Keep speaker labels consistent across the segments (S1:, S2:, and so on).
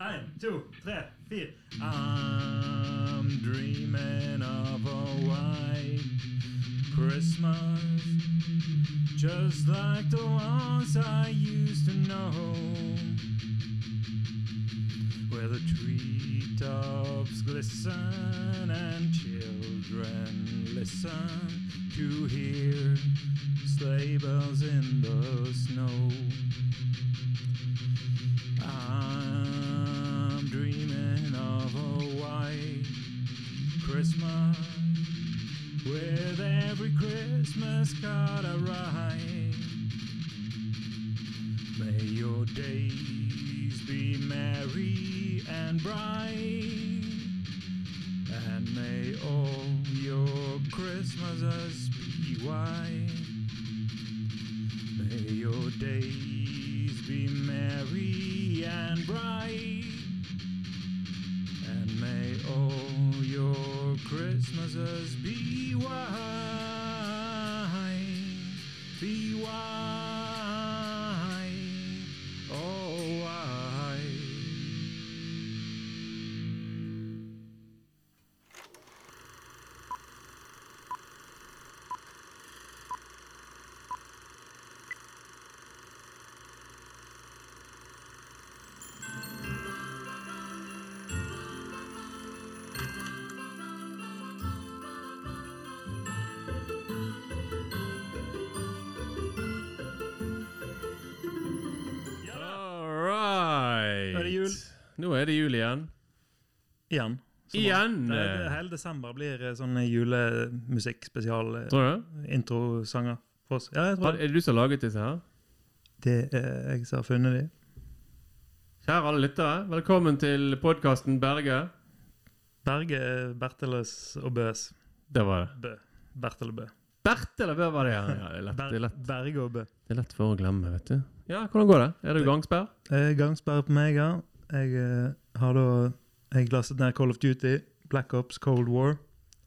S1: Én, to, tre, fire. I'm dreaming of a white Christmas, just like the ones I used to know, where the treetops glisten and children listen to hear sleigh bells in the snow. I'm dreaming of a white Christmas with every Christmas card I write. May your days be merry and bright, and may all your Christmases be white. May your days be merry and bright, and may all your Christmases be white, be white, oh white.
S2: All right.
S1: Nå er det jul.
S2: Nå er det jul igjen.
S1: Igjen. Som
S2: Igjen!
S1: vanlig. Det, er det, hele desember blir eh, sånn
S2: Tror
S1: julemusikk-spesial-introsanger
S2: du er det?
S1: for oss. Ja, jeg tror
S2: Har-
S1: det.
S2: Er det du som har laget disse her?
S1: Det er jeg som har funnet de.
S2: Kjære alle lyttere, velkommen til podkasten Berge.
S1: Berge, Berteles og Bøs.
S2: Det var det.
S1: Bø. Bertel og Bø.
S2: Bertel, eller hva var det? Ja, ja, det, er lett,
S1: Ber
S2: det, er lett,
S1: Berge og Bø.
S2: det er lett for å glemme, vet du. Ja, Hvordan går det? Er du gangsperr?
S1: Eh, Gangsperre på meg, ja. Jeg eh, har da jeg lastet ned Call of Duty, Black Ops, Cold War.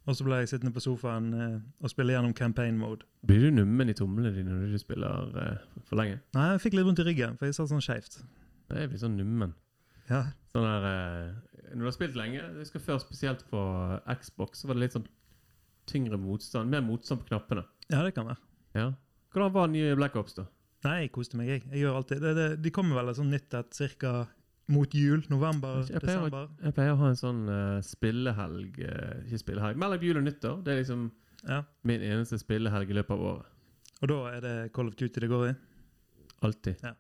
S1: Og så ble jeg sittende på sofaen eh, og spille gjennom campaign mode.
S2: Blir du nummen i tomlene dine når du spiller eh, for lenge?
S1: Nei, jeg fikk litt vondt i ryggen, for jeg satt sånn skeivt.
S2: Nei, Jeg blir sånn nummen.
S1: Ja.
S2: Sånn der, eh, Når du har spilt lenge Jeg husker før spesielt på Xbox, så var det litt sånn tyngre motstand. Mer motstand på knappene.
S1: ja, det kan være.
S2: Ja. Hvordan var nye Black Ops, da?
S1: Nei, jeg koste meg, jeg. Jeg gjør alltid det. det de kommer vel et sånt nytt et cirka mot jul, november,
S2: Jeg pleier å-
S1: desember.
S2: Jeg pleier å ha en sånn eh, spillehelg eh, Ikke spillehelg, mellom jul og nyttår. Det er liksom
S1: Ja.
S2: min eneste spillehelg i løpet av året.
S1: Og da er det Call of Duty det går i.
S2: Alltid.
S1: Ja.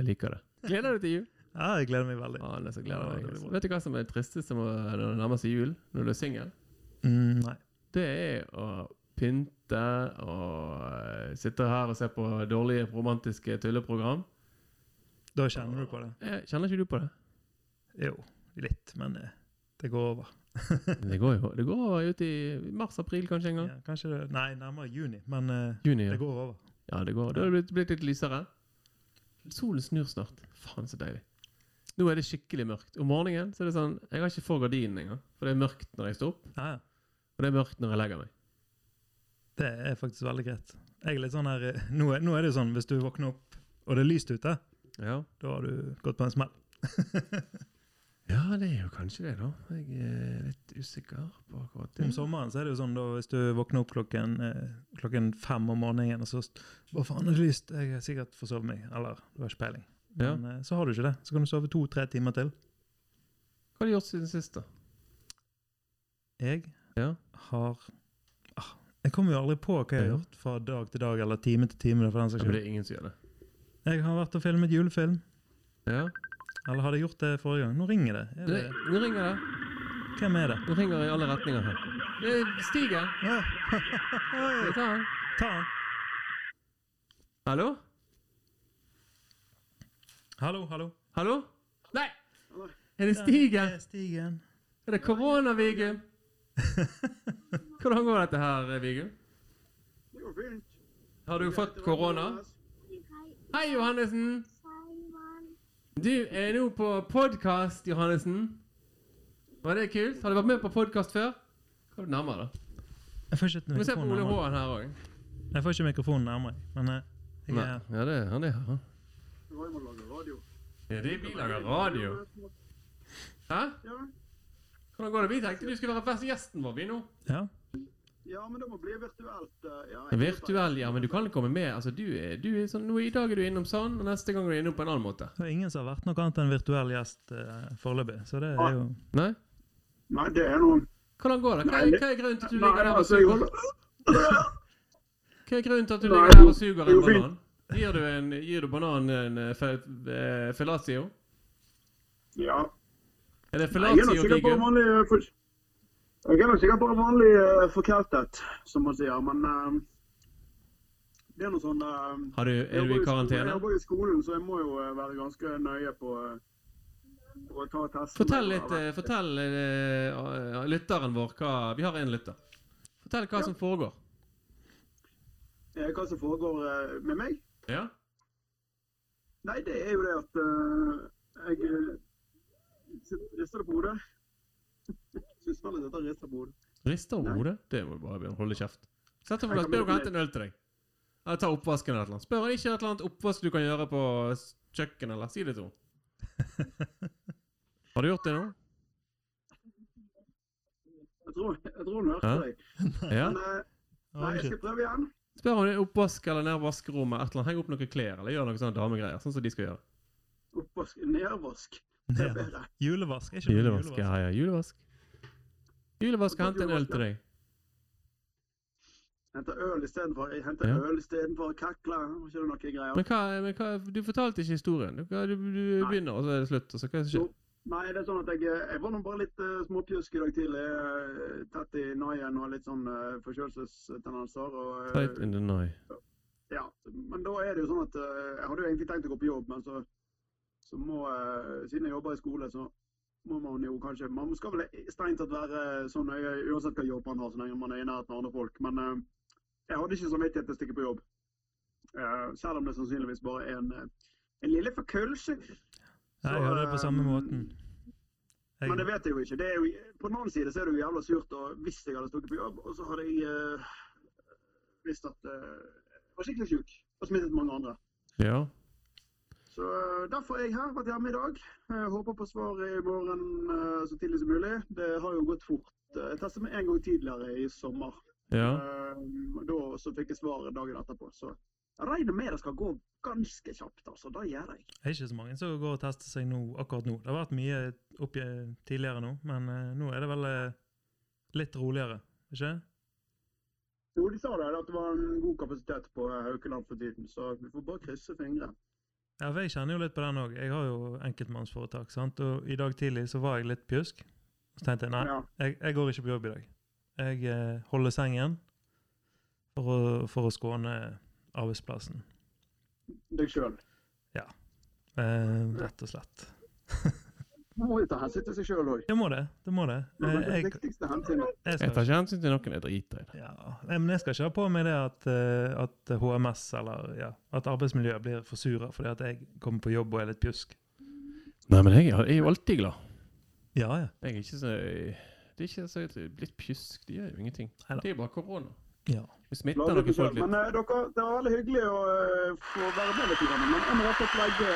S2: Jeg liker det. Gleder du til jul?
S1: Ja, jeg gleder meg veldig.
S2: Ah, det er så gleder jeg
S1: Ja,
S2: meg.
S1: det blir bra.
S2: Vet du hva som er det tristeste med- når det nærmer seg jul, når du er singel?
S1: Mm, nei.
S2: Det er å pynte og eh, sitte her og se på dårlige romantiske tulleprogram.
S1: Da kjenner du på det.
S2: Eh, Kjenner ikke du på det?
S1: Jo, litt, men eh, det går over.
S2: Det går jo det går ut i mars-april kanskje en gang.
S1: Ja, kanskje det Nei, nærmere juni, men eh,
S2: Juni.
S1: det
S2: Ja.
S1: går over.
S2: Ja, det går. Da er det blitt, blitt litt lysere. Solen snur snart. Faen, så deilig. Nå er det skikkelig mørkt. Om morgenen så er det sånn Jeg har ikke for gardinen engang. For det er mørkt når jeg står opp,
S1: Ja, ja.
S2: og det er mørkt når jeg legger meg.
S1: det er faktisk veldig greit. Jeg er litt sånn her eh, Nå er, nå er det jo sånn hvis du våkner opp og det er lyst ute,
S2: Ja,
S1: da har du gått på en smell.
S2: det er jo kanskje det, da. Jeg er litt usikker på akkurat
S1: Om sommeren så er det jo sånn da hvis du våkner opp klokken, eh, klokken fem om morgenen og så st- Hva faen er det lyst? Jeg har sikkert forsovet meg. Eller du har ikke peiling.
S2: Ja.
S1: Men eh, så har du ikke det. Så kan du sove to-tre timer til.
S2: Hva har du gjort siden sist, da?
S1: Jeg
S2: Ja.
S1: har ah, Jeg kommer jo aldri på hva jeg har
S2: Ja.
S1: gjort fra dag til dag eller time til time. for den saks
S2: Ja, men
S1: skyld.
S2: det er ingen som gjør det.
S1: Jeg har vært og filmet julefilm.
S2: Ja.
S1: Eller hadde jeg gjort det forrige gang? Nå ringer det. Er
S2: Det,
S1: det
S2: nå ringer det.
S1: hvem er det?
S2: Nå ringer det i alle retninger her. Det stiger.
S1: Ah,
S2: Skal vi ta den?
S1: ta han.
S2: Hallo?
S1: Hallo, hallo.
S2: Hallo? Nei! Er det Stigen?
S1: Det er Stigen.
S2: Er det korona, Vigum? Hvordan går dette her, Vigum?
S3: Det går fint.
S2: Har du fått korona? Hei, Johannesen! Du er nå på podkast, Johannesen. Var det kult? Har du vært med på podkast før? Hva er du nærmere, da?
S1: Jeg får ikke
S2: Du må se på
S1: mikrofonen
S2: Ole
S1: nærmere.
S2: H-en her òg.
S1: Jeg får ikke mikrofonen nærmere, men eh, jeg er her.
S2: Ja, det er han det er her.
S3: Vi må jo lage radio.
S2: Ja, det er vi lager radio.
S4: Hæ?
S3: Ja,
S4: Hvordan går det? Vi tenkte du skulle være best gjesten vår, vi nå.
S1: Ja.
S3: ja men det må bli virtuelt. eh, Ja, jeg-
S4: Virtuell, ja, men du kan komme med. Altså, du er, du er sånn, nå I dag er du innom sånn, og neste gang er du innom på en annen måte.
S1: Det er ingen som har vært noe annet enn virtuell gjest eh, foreløpig, så det
S3: Ah.
S1: er jo
S4: Nei?
S3: Nei, det er noen
S4: Hvordan går det? Hva er,
S3: Nei,
S4: hva er grunnen til at du
S3: Nei,
S4: ligger der og
S3: altså, jeg
S4: suger?
S3: holder
S4: Hva er grunnen til at du
S3: Nei,
S4: ligger der og
S3: det-
S4: suger
S3: det
S4: en
S3: går fint.
S4: banan? Gir du, en, gir du bananen en eh, fe- eh, fellatio?
S3: Ja.
S4: Er det
S3: Nei, Jeg er nok
S4: fellatio,
S3: sikkert bare
S4: Viggo?
S3: vanlig eh, for... Jeg er nok sikkert bare vanlig eh, forkjeltet, som man sier, men eh, det er noe sånn eh,
S4: Har du,
S3: jeg
S4: er du i
S3: jobber jo sko- Jeg
S4: karantene?
S3: jobber jo i skolen, så jeg må jo eh, være ganske nøye på eh, på å ta testen.
S4: Fortell litt, eh, fortell eh, eh, lytteren vår hva Vi har en lytter. Fortell hva
S3: Ja.
S4: som foregår.
S3: Eh, Hva som foregår eh, med meg?
S4: Ja?
S3: Nei, det er jo det at eh, jeg eh, sit- rister det på hodet. Suspender dette rister på hodet.
S4: Rister over
S3: Nei.
S4: hodet? Det må du bare begynne å holde kjeft. Sett over deg, spør
S3: Jeg kan
S4: om
S3: bruke
S4: han hente en øl til deg. Eller ta oppvasken eller noe. Spør han ikke et eller annet oppvask du kan gjøre på s- kjøkkenet, eller si det til henne. Har du gjort det nå?
S3: Jeg tror, jeg tror hun hørte
S4: Ja.
S3: deg.
S4: Ja?
S3: Men eh, nei, jeg skal prøve igjen.
S4: Spør om det er oppvask eller ned vaskerommet, et eller annet. Heng opp noen klær, eller gjør noen sånne damegreier, sånn som de skal gjøre.
S3: Oppvask, nedvask. Det er
S1: Ned.
S3: bedre.
S1: Julevask, er ikke det
S4: Julevask, ja, ja, julevask. Julevask, hente en øl til deg.
S3: Hente øl istedenfor Jeg henter
S4: Ja.
S3: øl istedenfor kakla. Var ikke det noe greier?
S4: Men hva, men hva Du fortalte ikke historien. Du, du, du begynner, og så er det slutt, og så hva er det som skjer?
S3: Jo, Nei, det er sånn at jeg, jeg var nå bare litt eh, småpjusk i dag tidlig. eh, tett i naien og litt sånn eh, forkjølelsestendenser. Og, eh,
S4: Tight in the nye.
S3: ja. Men da er det jo sånn at eh, jeg hadde jo egentlig tenkt å gå på jobb, men så, så må eh, Siden jeg jobber i skole, så må man jo kanskje Man skal vel strengt tatt være så nøye uansett hva jobb man har, så lenge man er i nærheten av andre folk. Men eh, jeg hadde ikke samvittighet til å stikke på jobb. Eh, selv om det sannsynligvis bare er en, eh, en lille forkølelse.
S1: Ja, jeg hadde det på samme måten.
S3: eh, Men det
S1: Jeg,
S3: vet jeg jo ikke. Det er jo, på den annen side så er det jo jævla surt og hvis jeg hadde stukket på jobb, og så hadde jeg eh, visst at eh, jeg var skikkelig sjuk og smittet mange andre.
S4: Ja.
S3: Så eh, derfor er jeg her, vært hjemme i dag. Eh, håper på svar i morgen eh, så tidlig som mulig. Det har jo gått fort. Eh, Jeg testet meg en gang tidligere i sommer.
S4: Ja.
S3: Eh, og da så fikk jeg svaret dagen etterpå. Så jeg regner med det skal gå ganske kjapt, altså. Det gjør jeg.
S1: det er ikke så mange som går og tester seg nå, akkurat nå. Det har vært mye oppgi tidligere nå, men eh, nå er det vel eh, litt roligere, ikke?
S3: Jo, de sa det, at det var en god kapasitet på eh, Haukeland for tiden, så vi får bare krysse fingre.
S1: Ja, for jeg kjenner jo litt på den òg. Jeg har jo enkeltmannsforetak, sant. Og i dag tidlig så var jeg litt pjusk. Så tenkte jeg nei,
S3: Ja.
S1: jeg, jeg går ikke på jobb i dag. Jeg eh, holder sengen for å, for å skåne arbeidsplassen.
S3: deg sjøl.
S1: Eh, rett og slett.
S3: Man må jo ta hensyn til seg sjøl òg.
S1: Det må det. Det må det.
S3: Det
S1: Eh,
S3: er det
S1: jeg,
S3: viktigste hensynet.
S1: jeg
S4: Jeg tar
S1: skal,
S4: ikke hensyn til noen. Jeg driter i det.
S1: ja, nei, men jeg skal ikke ha på meg det at, eh, at HMS eller ja, at arbeidsmiljøet blir forsura fordi at jeg kommer på jobb og er litt pjusk.
S4: Nei, men jeg er jo alltid glad.
S1: Ja, ja.
S4: Jeg er ikke så Det er ikke så jeg er litt pjusk. Det gjør jo ingenting.
S1: Neida.
S4: Det er bare korona.
S1: ja.
S4: Vi
S3: La
S4: smitter
S3: dere
S4: noen folk
S3: selv.
S4: litt.
S3: Men eh, dere, det var veldig hyggelig å eh, få være med litt, grann, men jeg må rett og slett legge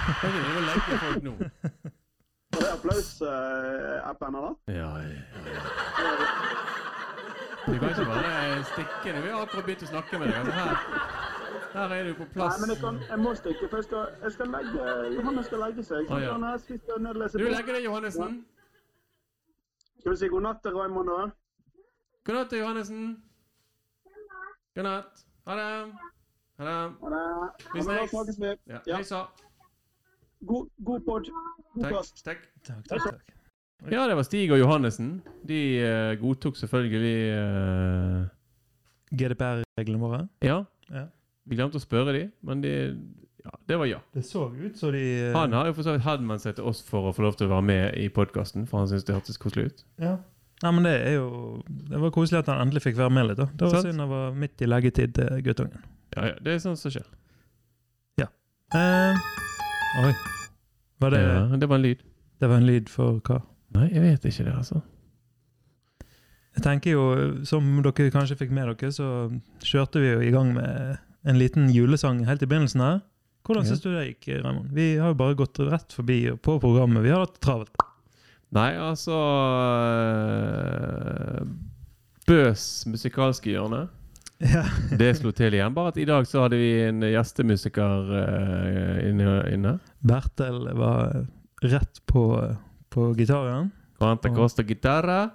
S4: Kan ikke drive og legge folk nå.
S3: Var det applaus-appen, eller?
S4: Ja, ja. Du kan ikke bare eh, stikke ned. Vi har akkurat begynt å snakke med deg. Altså, her, her er du på
S3: Nei,
S4: plass.
S3: men jeg, kan, jeg må stikke, for jeg skal, jeg skal legge Johannes skal legge seg.
S4: Å,
S3: Så
S4: ja.
S3: kan jeg spise og nedlese
S4: Du
S3: bok.
S4: legger deg, Johannessen.
S3: Skal vi si god natt til Raymond, da?
S4: God natt, Johannessen. God natt. Ha det. Ha det.
S3: Ha det.
S4: Vi
S3: Ja, men da
S4: snakkes.
S3: snakkes vi.
S4: Ja.
S3: Ja.
S4: Hei sa.
S3: God, god pod. God
S4: Takk.
S3: kast.
S4: Takk.
S1: Takk, takk, takk.
S4: Ja, det var Stig og Johannessen. De eh, godtok selvfølgelig eh,
S1: GDPR-reglene våre.
S4: Ja.
S1: Ja.
S4: Vi glemte å spørre de, men de, ja, det var ja.
S1: Det så ut som de eh,
S4: Han har jo for så vidt henvendt seg til oss for å få lov til å være med i podkasten, for han syntes det hørtes koselig ut.
S1: Ja. Nei, men det er jo Det var koselig at han endelig fikk være med litt. da. Det var
S4: Sant.
S1: synd han var midt i leggetid til guttungen.
S4: Ja, ja, Det er sånt som skjer.
S1: Eh, oi. Var det
S4: ja, det var en lyd.
S1: Det var en lyd for hva?
S4: Nei, jeg vet ikke det, altså.
S1: Jeg tenker jo, som dere kanskje fikk med dere, så kjørte vi jo i gang med en liten julesang helt i begynnelsen her. Hvordan
S4: Ja.
S1: synes du det gikk, Raymond? Vi har jo bare gått rett forbi og på programmet. Vi har hatt det travelt.
S4: Nei, altså eh, Bøs musikalske hjørne.
S1: Ja.
S4: Det slo til igjen. Bare at i dag så hadde vi en gjestemusiker eh, inne. inne.
S1: Bertel var rett på, på gitaren.
S4: Quanta costa guitarra.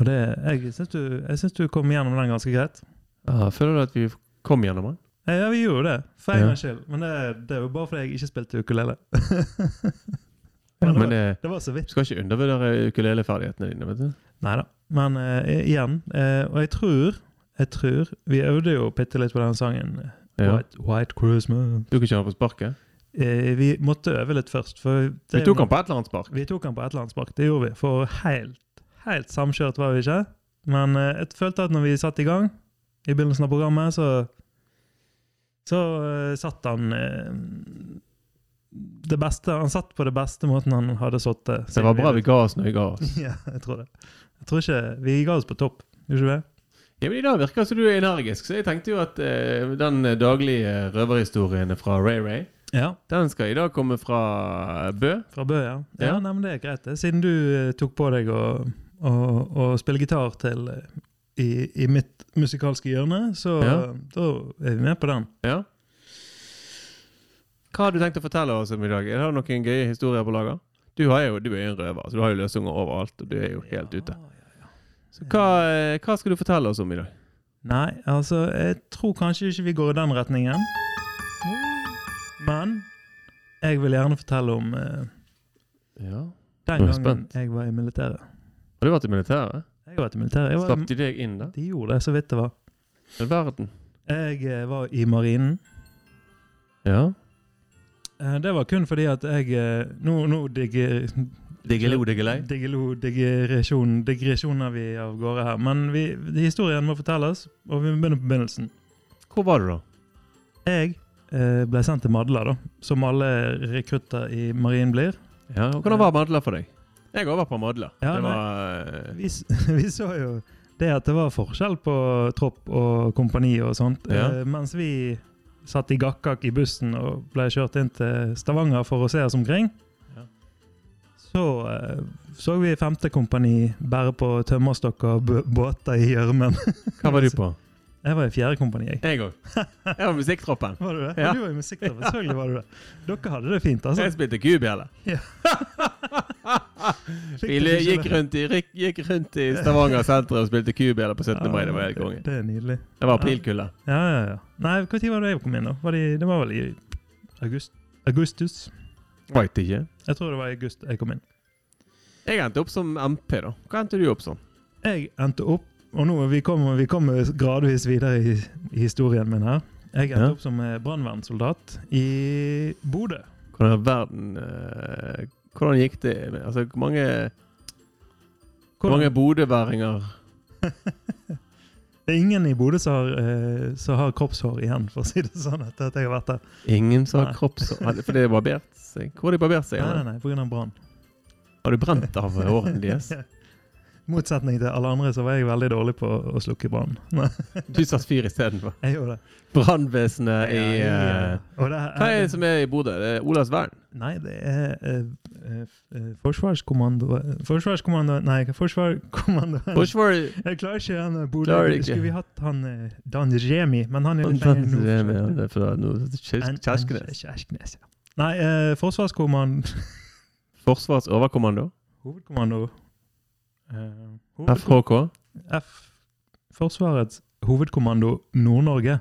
S1: Og det, jeg syns du, jeg synes du kom gjennom den ganske greit.
S4: Ah, føler du at vi kom gjennom den?
S1: Eh, Ja, vi gjorde det. For en
S4: Ja.
S1: gangs skyld. Men det, det er jo bare fordi jeg ikke spilte ukulele. Men det,
S4: Men
S1: var,
S4: det,
S1: det var så vidt.
S4: du skal ikke undervurdere ukuleleferdighetene dine. vet du?
S1: Nei da. Men eh, igjen, eh, og jeg tror jeg tror, Vi øvde jo bitte litt på den sangen. eh,
S4: Ja.
S1: White, White Christmas.
S4: Du kan ikke ha den på sparket?
S1: Eh, vi måtte øve litt først. For
S4: Vi
S1: det-
S4: tok den på et eller annet spark.
S1: Vi tok den på et eller annet spark, det gjorde vi. For helt, helt samkjørt var vi ikke. Men eh, jeg følte at når vi satt i gang, i begynnelsen av programmet, så Så eh, satt han eh, det beste, Han satt på det beste måten han hadde sittet.
S4: Det var bra vi ga oss når vi ga oss.
S1: Ja, jeg tror det. Jeg tror ikke Vi ga oss på topp, gjorde vi ikke det?
S4: Ja, men I dag virker som du er energisk, så jeg tenkte jo at eh, den daglige røverhistorien fra Ray Ray,
S1: Ja.
S4: den skal i dag komme fra Bø.
S1: Fra Bø, ja. ja.
S4: Ja.
S1: Nei, men det er greit, det. Siden du eh, tok på deg å, å, å spille gitar til eh, i, i mitt musikalske hjørne, så
S4: Ja.
S1: da er vi med på den.
S4: Ja. Hva har du tenkt å fortelle oss om i dag? Er det noen gøye historier på lager? Du, har jo, du er jo en røver, så du har jo løsunger overalt, og du er jo helt ute. Så hva, eh, hva skal du fortelle oss om i dag?
S1: Nei, altså, jeg tror kanskje ikke vi går i den retningen. Men jeg vil gjerne fortelle om eh,
S4: Ja.
S1: den
S4: Nå er jeg
S1: gangen
S4: spent.
S1: jeg var i militæret.
S4: Har du vært i militæret?
S1: Jeg var i militæret. Jeg var,
S4: Slapp de deg inn der?
S1: de gjorde det så vidt det var.
S4: I verden?
S1: Jeg eh, var i marinen.
S4: Ja.
S1: Eh, Det var kun fordi at jeg eh, Nå, nå digger Diggelo,
S4: diggelei.
S1: Diggelo, digresjon, digresjoner vi av gårde her. Men vi, historien må fortelles, og vi begynner på begynnelsen.
S4: Hvor var du da?
S1: Jeg eh, ble sendt til Madla, da, som alle rekrutter i marinen blir.
S4: Ja, Hvordan var Madla for deg? Jeg har vært på Madla.
S1: Ja,
S4: det
S1: nei.
S4: var eh,
S1: Vi, s- vi så jo det at det var forskjell på tropp og kompani og sånt.
S4: Ja.
S1: Eh, mens vi satt i gakkak i bussen og ble kjørt inn til Stavanger for å se oss omkring,
S4: Ja.
S1: så eh, så vi femte kompani bære på tømmerstokker og bø- båter i gjørmen.
S4: Hva var du på?
S1: Jeg var i fjerde kompani, jeg.
S4: Jeg òg. Jeg var musikktroppen.
S1: Var du det?
S4: Ja.
S1: Du var i musikktroppen, selvfølgelig var du det. Dere hadde det fint, altså.
S4: Jeg spilte kubjelle.
S1: Ja.
S4: Vi le- gikk rundt i, rik- gikk rundt i Stavanger sentrum og spilte kubjelle på 17. mai. Det var helt konge.
S1: Det er nydelig.
S4: Det var aprilkulde.
S1: Ja, ja, ja. Nei, hva tid var det jeg kom inn da? Var det, det var vel i august. augustus?
S4: Veit ikke.
S1: Jeg tror det var i august jeg kom inn.
S4: Jeg endte opp som MP, da. Hva endte du opp som?
S1: Jeg endte opp, og nå vi kommer vi kommer gradvis videre i, i historien min her. Jeg endte
S4: Ja.
S1: opp som eh, brannvernsoldat i Bodø.
S4: Hvordan i all verden eh, Hvordan gikk det med Altså, hvor mange, hvor mange bodøværinger
S1: Det er ingen i Bodø som har, eh, som har kroppshår igjen, for å si det sånn, etter at jeg har vært der.
S4: Ingen som
S1: Nei.
S4: har kroppshår hadde- For det er barbert seg. Hvor har de barbert seg?
S1: Nei, nei,
S4: eller?
S1: nei, på grunn av brann.
S4: Har du brent av hårene deres?
S1: Motsetning til alle andre så var jeg veldig dårlig på å slukke brann. Nei,
S4: Du satte fyr istedenfor.
S1: Jeg gjorde det.
S4: Brannvesenet i eh,
S1: Og det er-
S4: Hva er det som er i Bodø? Det er Olavsvern?
S1: Nei, det er eh, eh, eh, Forsvarskommando eh, Forsvarskommando Nei, hva- Forsvarskommando
S4: Forsvaret
S1: Jeg klarer ikke han eh,
S4: Klarer
S1: Bodø.
S4: ikke.
S1: Skulle vi hatt han eh, Dan Remi, men han er litt lenger nord. En- en
S4: Kjerkenes.
S1: Kjerknes, ja. Nei, eh, Forsvarskommand...
S4: Forsvarets overkommando.
S1: Hovedkommando eh, hoved,
S4: FHK.
S1: F Forsvarets hovedkommando Nord-Norge.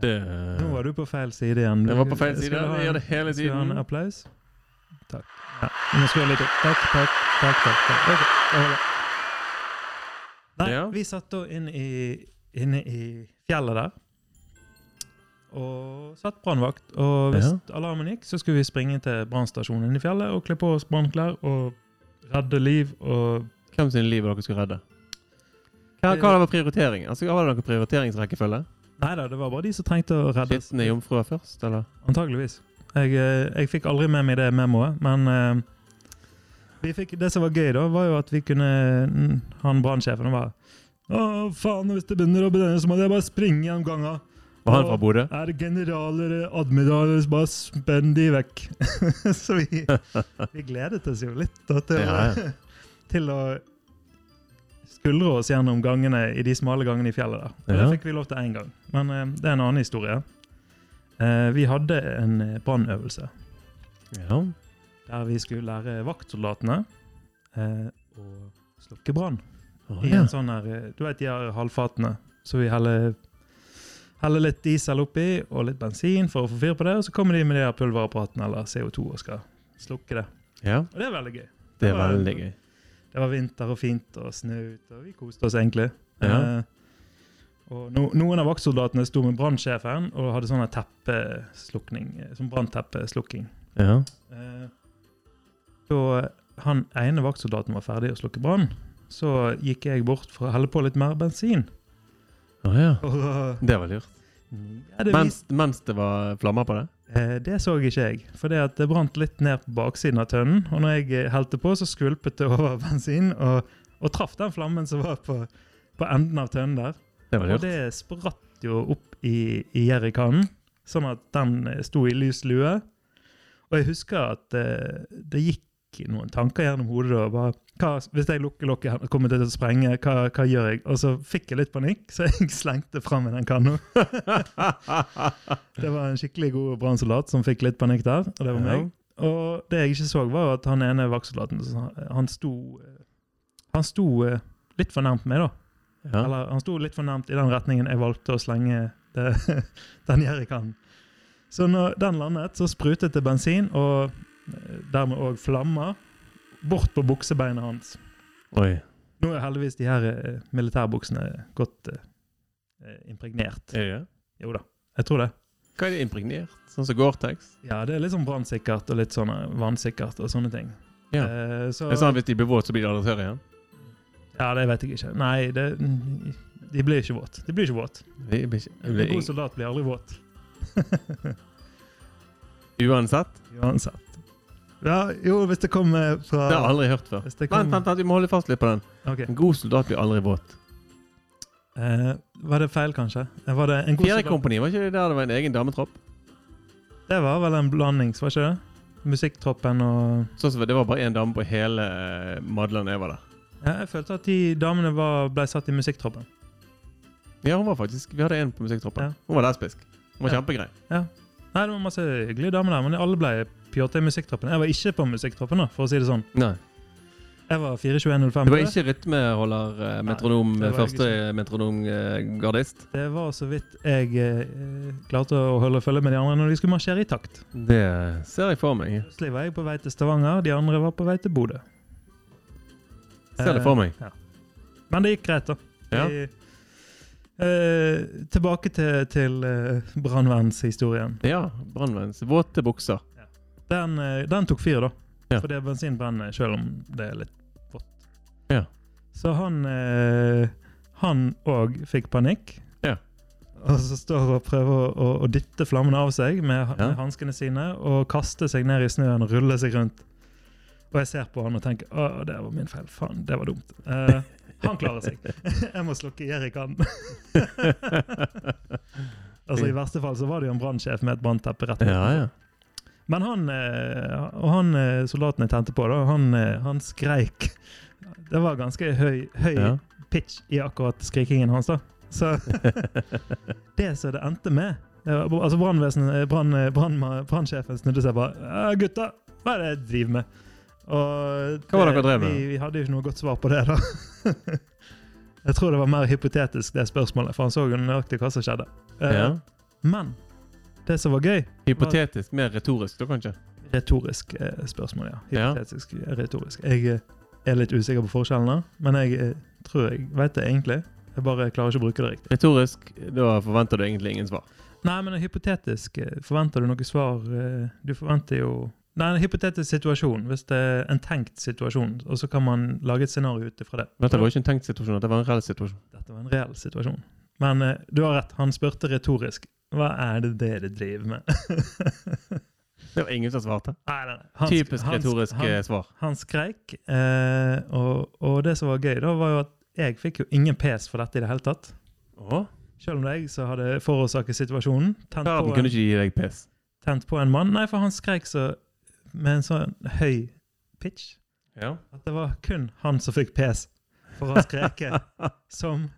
S4: Det,
S1: Nå var du på feil side igjen.
S4: jeg var på feil side.
S1: Skal du ha
S4: Jeg gjør det hele
S1: Skal vi ha en
S4: tiden.
S1: applaus? Takk. Ja, vi må skru litt opp. Takk, takk, takk. takk, takk. Ok, det holder. Nei,
S4: Ja.
S1: vi satt da inne i, inne i fjellet der. Og satt brannvakt. Og hvis alarmen gikk, så skulle vi springe til brannstasjonen inne i fjellet og kle på oss brannklær og redde liv og
S4: Hvem sin liv dere skulle redde? Hva, hva var prioriteringen? Altså, var det noen prioriteringsrekkefølge?
S1: Nei da, det var bare de som trengte å reddes.
S4: Skitne jomfruer først, eller?
S1: Antageligvis. Jeg, eh, jeg fikk aldri med meg det memoet, men eh, vi fikk, det som var gøy, da, var jo at vi kunne mm, Han brannsjefen var Å, faen, hvis det begynner å bedønne, så må jeg bare springe gjennom ganga.
S4: Var han fra Bodø?
S1: Er generaler, admiraler, bare spenn de vekk. så vi, vi gledet oss jo litt da, til,
S4: Ja,
S1: Å, til å skuldre oss gjennom gangene i de smale gangene i fjellet der. Og
S4: Ja.
S1: Det fikk vi lov til én gang, men eh, det er en annen historie. Eh, vi hadde en eh, brannøvelse
S4: Ja.
S1: der vi skulle lære vaktsoldatene eh, å slukke brann.
S4: Å,
S1: I
S4: ja.
S1: en sånn her, eh, du vet de her halvfatene, så vi heller, heller litt diesel oppi og litt bensin for å få fyr på det, og så kommer de med de her pulverapparatene eller CO2 og skal slukke det.
S4: ja.
S1: Og det er veldig gøy.
S4: Det er veldig gøy.
S1: Det var vinter og fint og snø ute, og vi koste oss egentlig.
S4: Ja.
S1: Eh, og no, noen av vaktsoldatene sto med brannsjefen og hadde sånn her teppeslukning, eh, sånn brannteppslukking.
S4: Ja.
S1: Eh, Da han ene vaktsoldaten var ferdig å slukke brann, så gikk jeg bort for å helle på litt mer bensin.
S4: Å, ja.
S1: Og, eh,
S4: Det var lurt.
S1: ja, det,
S4: Mens,
S1: vis,
S4: mens det var flammer på det?
S1: eh, det så ikke jeg, for det, at det brant litt ned på baksiden av tønnen. Og når jeg eh, helte på, så skvulpet det over bensin og, og traff den flammen som var på, på enden av tønnen der.
S4: Det var
S1: Og
S4: lurt.
S1: det spratt jo opp i, i jerrykannen, sånn at den eh, sto i lys lue. Og jeg husker at eh, det gikk noen tanker gjennom hodet da. Bare, hva, hvis jeg lukker lokket, her, kommer det til å sprenge? Hva, hva gjør jeg? Og så fikk jeg litt panikk, så jeg slengte fram med den kanna. Det var en skikkelig god brannsoldat som fikk litt panikk der, og det var meg. Og det jeg ikke så, var at han ene vaktsoldaten så han sto, eh, han sto eh, litt for nærmt meg, da.
S4: Ja.
S1: Eller han sto litt for nærmt i den retningen jeg valgte å slenge det, den jerrykannen. Så når den landet, så sprutet det bensin, og eh, dermed òg flammer, bort på buksebeinet hans.
S4: Oi.
S1: Nå er heldigvis de her eh, militærbuksene godt eh, impregnert.
S4: Er det?
S1: Jo da, jeg tror det.
S4: Hva er det impregnert? Sånn som Gore-Tex?
S1: Ja, det er litt sånn brannsikkert og litt sånn eh, vannsikkert og sånne ting.
S4: Ja.
S1: Eh, så,
S4: Er det sånn at hvis de blir våte, så blir de aldri tørre igjen?
S1: ja, det vet jeg ikke. Nei, det, de blir ikke våt. De blir ikke våt.
S4: De blir ikke, de
S1: En
S4: blir
S1: god
S4: ikke.
S1: soldat blir aldri våt.
S4: Uansett.
S1: Uansett. Ja, jo, hvis det kommer fra
S4: Det har jeg aldri hørt før.
S1: Hvis det
S4: Vent,
S1: kom-
S4: vent, vent, vi må holde fast litt på den.
S1: Ok.
S4: En god soldat blir aldri våt.
S1: Eh, var det feil, kanskje? Eh, Var det en god
S4: Fjerde
S1: soldat?
S4: Kompani, var ikke det der det var en egen dametropp?
S1: Det var vel en blandings, var ikke det? Musikktroppen og
S4: Sånn som Det var bare én dame på hele eh, Madland jeg var der.
S1: ja, Jeg følte at de damene var, ble satt i musikktroppen.
S4: Ja, hun var faktisk Vi hadde en på musikktroppen.
S1: Ja.
S4: Hun var lesbisk. Hun var
S1: Ja.
S4: kjempegrei.
S1: Nei, det var masse hyggelige damer der, men alle ble pjåta i musikktroppen. Jeg var ikke på musikktroppen, da, for å si det sånn.
S4: Nei.
S1: Jeg var 42105.
S4: Du var ikke rytmeholder, eh, metronom,
S1: Nei, det var jeg
S4: første eh, metronomgardist?
S1: Det var så vidt jeg eh, klarte å holde følge med de andre når de skulle marsjere i takt.
S4: Det ser jeg for meg.
S1: Plutselig var jeg på vei til Stavanger, de andre var på vei til Bodø. Eh,
S4: Ser det for meg.
S1: Men det gikk greit, da.
S4: Ja.
S1: Vi, eh, tilbake til, til eh, brannvernshistorien.
S4: Ja, brannvenns. Våte bukser.
S1: Den, eh, den tok fyr, da.
S4: Ja.
S1: Fordi bensin brenner, selv om det er litt vått.
S4: Ja.
S1: Så han eh, Han òg fikk panikk.
S4: Ja.
S1: Og så står og prøver å, å, å dytte flammene av seg med, ha-
S4: Ja.
S1: med hanskene sine og kaste seg ned i snøen og rulle seg rundt. Og jeg ser på han og tenker å, det var min feil. Faen, det var dumt. Eh, han klarer seg. Jeg må slukke jerrykanen. altså, I verste fall så var det jo en brannsjef med et brannteppe rett
S4: Ja, ja.
S1: Men han, eh, og han eh, soldaten jeg tente på, da, han, eh, han skreik. Det var ganske høy, høy
S4: ja.
S1: pitch i akkurat skrikingen hans, da. Så det som det endte med det var- Altså brannvesenet, eh, brann- brannma- brannsjefen snudde seg bare «Ja, 'Gutta, hva er det dere driver med?' Og
S4: Hva var
S1: det-
S4: dere drev med?
S1: Vi, vi hadde jo ikke noe godt svar på det, da. Jeg tror det var mer hypotetisk, det spørsmålet, for han så jo nøyaktig hva som skjedde. Eh,
S4: ja.
S1: Men det som var gøy
S4: Hypotetisk, mer retorisk da, kanskje?
S1: Retorisk eh, spørsmål, ja.
S4: Ja.
S1: Hypotetisk, eh, retorisk. Jeg eh, er litt usikker på forskjellene, men jeg eh, tror jeg vet det egentlig. Jeg bare klarer ikke å bruke det riktig.
S4: Retorisk, da forventer du egentlig ingen svar.
S1: Nei, men hypotetisk eh, Forventer du noe svar? eh, Du forventer jo Nei, en hypotetisk situasjon, hvis det er en tenkt situasjon, og så kan man lage et scenario ut ifra det.
S4: Dette var jo ikke en tenkt situasjon, dette var en reell situasjon.
S1: Dette var en reell situasjon. Men eh, du har rett, han spurte retorisk. Hva er det dere driver med?
S4: Det var ingen som svarte.
S1: Nei, nei, nei. Han sk-
S4: Typisk
S1: han sk-
S4: retorisk
S1: han-
S4: eh, svar.
S1: Han skreik, eh, og, og det som var gøy, da var jo at jeg fikk jo ingen pes for dette i det hele tatt.
S4: Åh?
S1: Selv om det er jeg som hadde forårsaket situasjonen. Tent
S4: Verden
S1: på, en,
S4: kunne ikke gi deg piss.
S1: tent på en mann. Nei, for han skreik så med en sånn høy pitch
S4: Ja.
S1: at det var kun han som fikk pes for å skreke som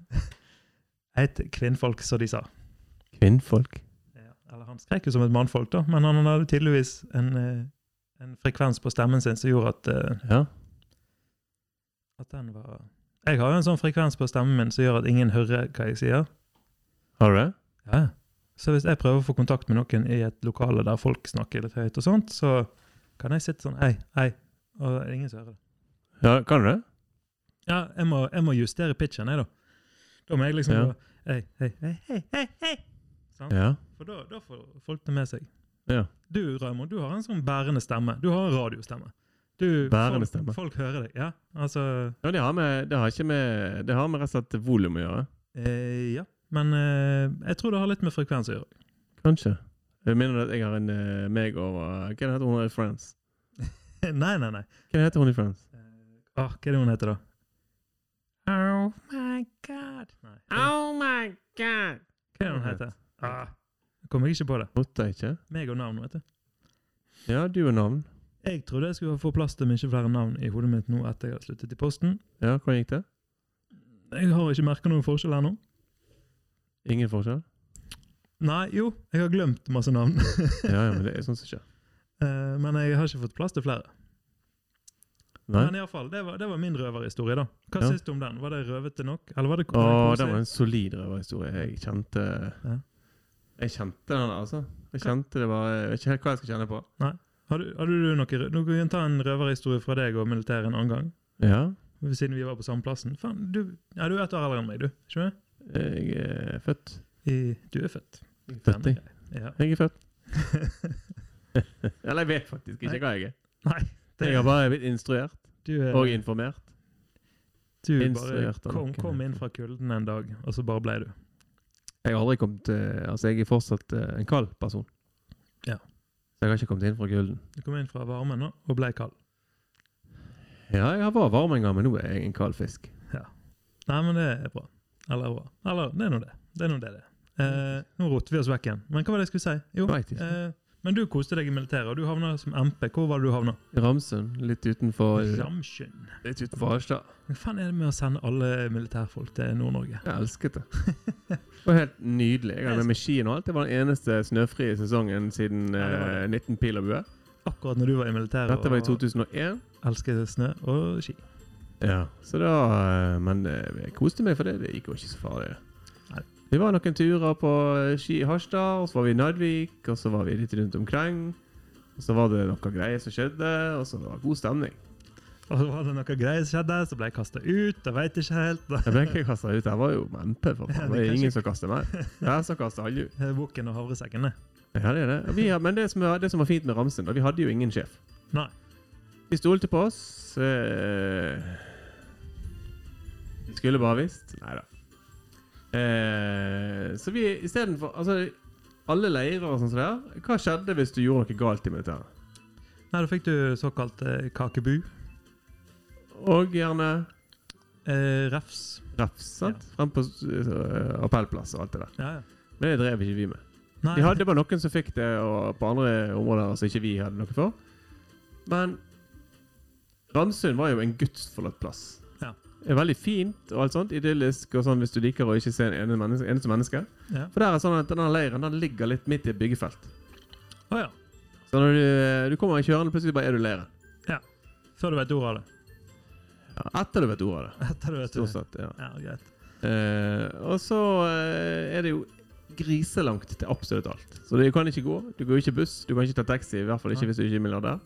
S1: et kvinnfolk, som de sa.
S4: Kvinnfolk.
S1: Ja, eller han skrek jo som et mannfolk, da, men han hadde tydeligvis en, eh, en frekvens på stemmen sin som gjorde at, eh,
S4: Ja.
S1: at den var Jeg har jo en sånn frekvens på stemmen min som gjør at ingen hører hva jeg sier.
S4: Har du det?
S1: Ja. Så hvis jeg prøver å få kontakt med noen i et lokale der folk snakker litt høyt, og sånt, så kan jeg sitte sånn Hei, hei. Og ingen som hører det.
S4: Ja, kan du det?
S1: Ja, jeg må, jeg må justere pitchen, jeg, da. Da må jeg liksom
S4: Ja.
S1: gå, Hei, hei, hei, hei, hei, hei. Sant?
S4: Ja.
S1: For da, da får folk det med seg.
S4: Ja.
S1: Du, Raymond, du har en sånn bærende stemme. Du har en radiostemme. Du,
S4: Bærende
S1: folk,
S4: stemme.
S1: Folk hører deg. Ja, altså
S4: ja det, har med, det har ikke med Det har med rett og slett volum å gjøre.
S1: eh, Ja. Men eh, jeg tror det har litt med frekvens å gjøre.
S4: Kanskje. Jeg minner at jeg har en eh, meg over Hva heter hun i Friends?
S1: nei, nei, nei.
S4: Hva heter hun i Friends?
S1: Ah, hva er det hun heter, da? Oh my god. Nei.
S4: Oh my god!
S1: Hva er det hun heter? Ah, kommer jeg ikke på det.
S4: Rotta ikke?
S1: Meg og navn, vet du.
S4: Ja, du og navn.
S1: Jeg trodde jeg skulle få plass til mye flere navn i hodet mitt nå etter jeg har sluttet i Posten.
S4: Ja, hvordan gikk det?
S1: Jeg har ikke merka noen forskjell ennå.
S4: Ingen forskjell?
S1: Nei, jo, jeg har glemt masse navn.
S4: Ja, ja, men det er sånn som skjer.
S1: Eh, Men jeg har ikke fått plass til flere.
S4: Nei?
S1: Men i alle fall, det var, det var min røverhistorie, da. Hva
S4: Ja.
S1: syns du om den? Var det røvete nok? Eller var det,
S4: Å,
S1: var
S4: det var
S1: koselig?
S4: en solid røverhistorie. Jeg kjente
S1: Ja.
S4: Jeg kjente den, altså. Jeg kjente det bare Jeg vet ikke helt hva jeg skal kjenne på.
S1: Har du, har du noe rø- Nå kan vi ta en røverhistorie fra deg og militæret en annen gang.
S4: Ja.
S1: Siden vi var på samme plassen. Faen, du, ja, du er ett år eldre enn meg, du. Ikke sant?
S4: Jeg er født.
S1: I, du er født.
S4: Født, jeg.
S1: Ja.
S4: Jeg er født. Eller jeg vet faktisk ikke hva jeg er.
S1: Nei, det,
S4: Jeg har bare blitt instruert
S1: du, er,
S4: og informert.
S1: du bare
S4: instruert av
S1: kom,
S4: noen.
S1: kom inn fra kulden en dag, og så bare ble du.
S4: Jeg har aldri kommet eh, Altså, jeg er fortsatt eh, en kald person.
S1: Ja.
S4: Så jeg har ikke kommet inn fra kulden.
S1: Du kom inn fra varmen nå, og ble kald.
S4: Ja, jeg var varm en gang, men nå er jeg en kald fisk.
S1: Nei, men det er bra. Eller bra. Eller det er nå det. Det er nå det det er. Eh, nå roter vi oss vekk igjen. Men hva var det jeg skulle si? Jo,
S4: Vet ikke.
S1: Eh, men du koste deg i militæret, og du havna som MP. Hvor var det du havna?
S4: Ramsund, litt utenfor
S1: Ramsund.
S4: Litt utenfor Harstad.
S1: Hva faen er det med å sende alle militærfolk til Nord-Norge?
S4: Jeg elsket det. Det var helt nydelig. Jeg hadde med meg skien og alt. Det var den eneste snøfrie sesongen siden
S1: Ja, det var
S4: eh, 19 pil og bue.
S1: Akkurat når du var i militæret
S4: Dette var i 2001.
S1: og elsket snø og ski.
S4: Ja, så da eh, Men eh, jeg koste meg for det. Det gikk jo ikke så farlig.
S1: Nei.
S4: Vi var noen turer på eh, ski i Harstad, og så var vi i Narvik, og så var vi litt rundt omkring. Og så var det noe greier som skjedde, og så var det god stemning.
S1: Og så var det noe greier som skjedde, så ble jeg kasta ut. Jeg veit ikke helt.
S4: Jeg ble ikke kasta ut. Jeg var jo MP, for
S1: Ja, det
S4: faen. Det
S1: kan
S4: er
S1: ikke-
S4: ingen som kaster meg. Jeg som kaster alle ut.
S1: Det er Bukken og havresekken, det.
S4: Ja, det er det. Og Vi, har- men det som, var, det som var fint med Ramsen, da, vi hadde jo ingen sjef.
S1: Nei.
S4: De stolte på oss. Eh, de skulle bare visst. Nei da. Eh, så vi istedenfor Altså, alle leirer og sånn som det der Hva skjedde hvis du gjorde noe galt i militæret?
S1: Nei, da fikk du såkalt eh, kakebu.
S4: Og gjerne
S1: Eh, refs.
S4: refs, sant? Frem på eh, appellplass og alt det der.
S1: Ja, ja.
S4: Men det drev ikke vi med.
S1: Nei,
S4: De hadde bare noen som fikk det, og på andre områder som altså ikke vi hadde noe for. Men Ramsund var jo en gudsforlatt plass.
S1: Ja.
S4: Det er veldig fint og alt sånt, idyllisk og sånn hvis du liker å ikke se en ene menneske, eneste menneske.
S1: Ja.
S4: For der er sånn at denne leiren den ligger litt midt i et byggefelt.
S1: Å ja.
S4: Så når du, eh, du kommer kjørende, plutselig bare er du i leiren.
S1: Før du vet ordet av det.
S4: Ja, etter du vet ordet av det.
S1: Etter du vet
S4: Stort
S1: ordet.
S4: sett. ja.
S1: Ja, greit.
S4: Eh, og så eh, er det jo griselangt til absolutt alt. Så du kan ikke gå. Du går ikke buss, du kan ikke ta taxi. I hvert fall ikke
S1: Nei.
S4: hvis du ikke er milliardær.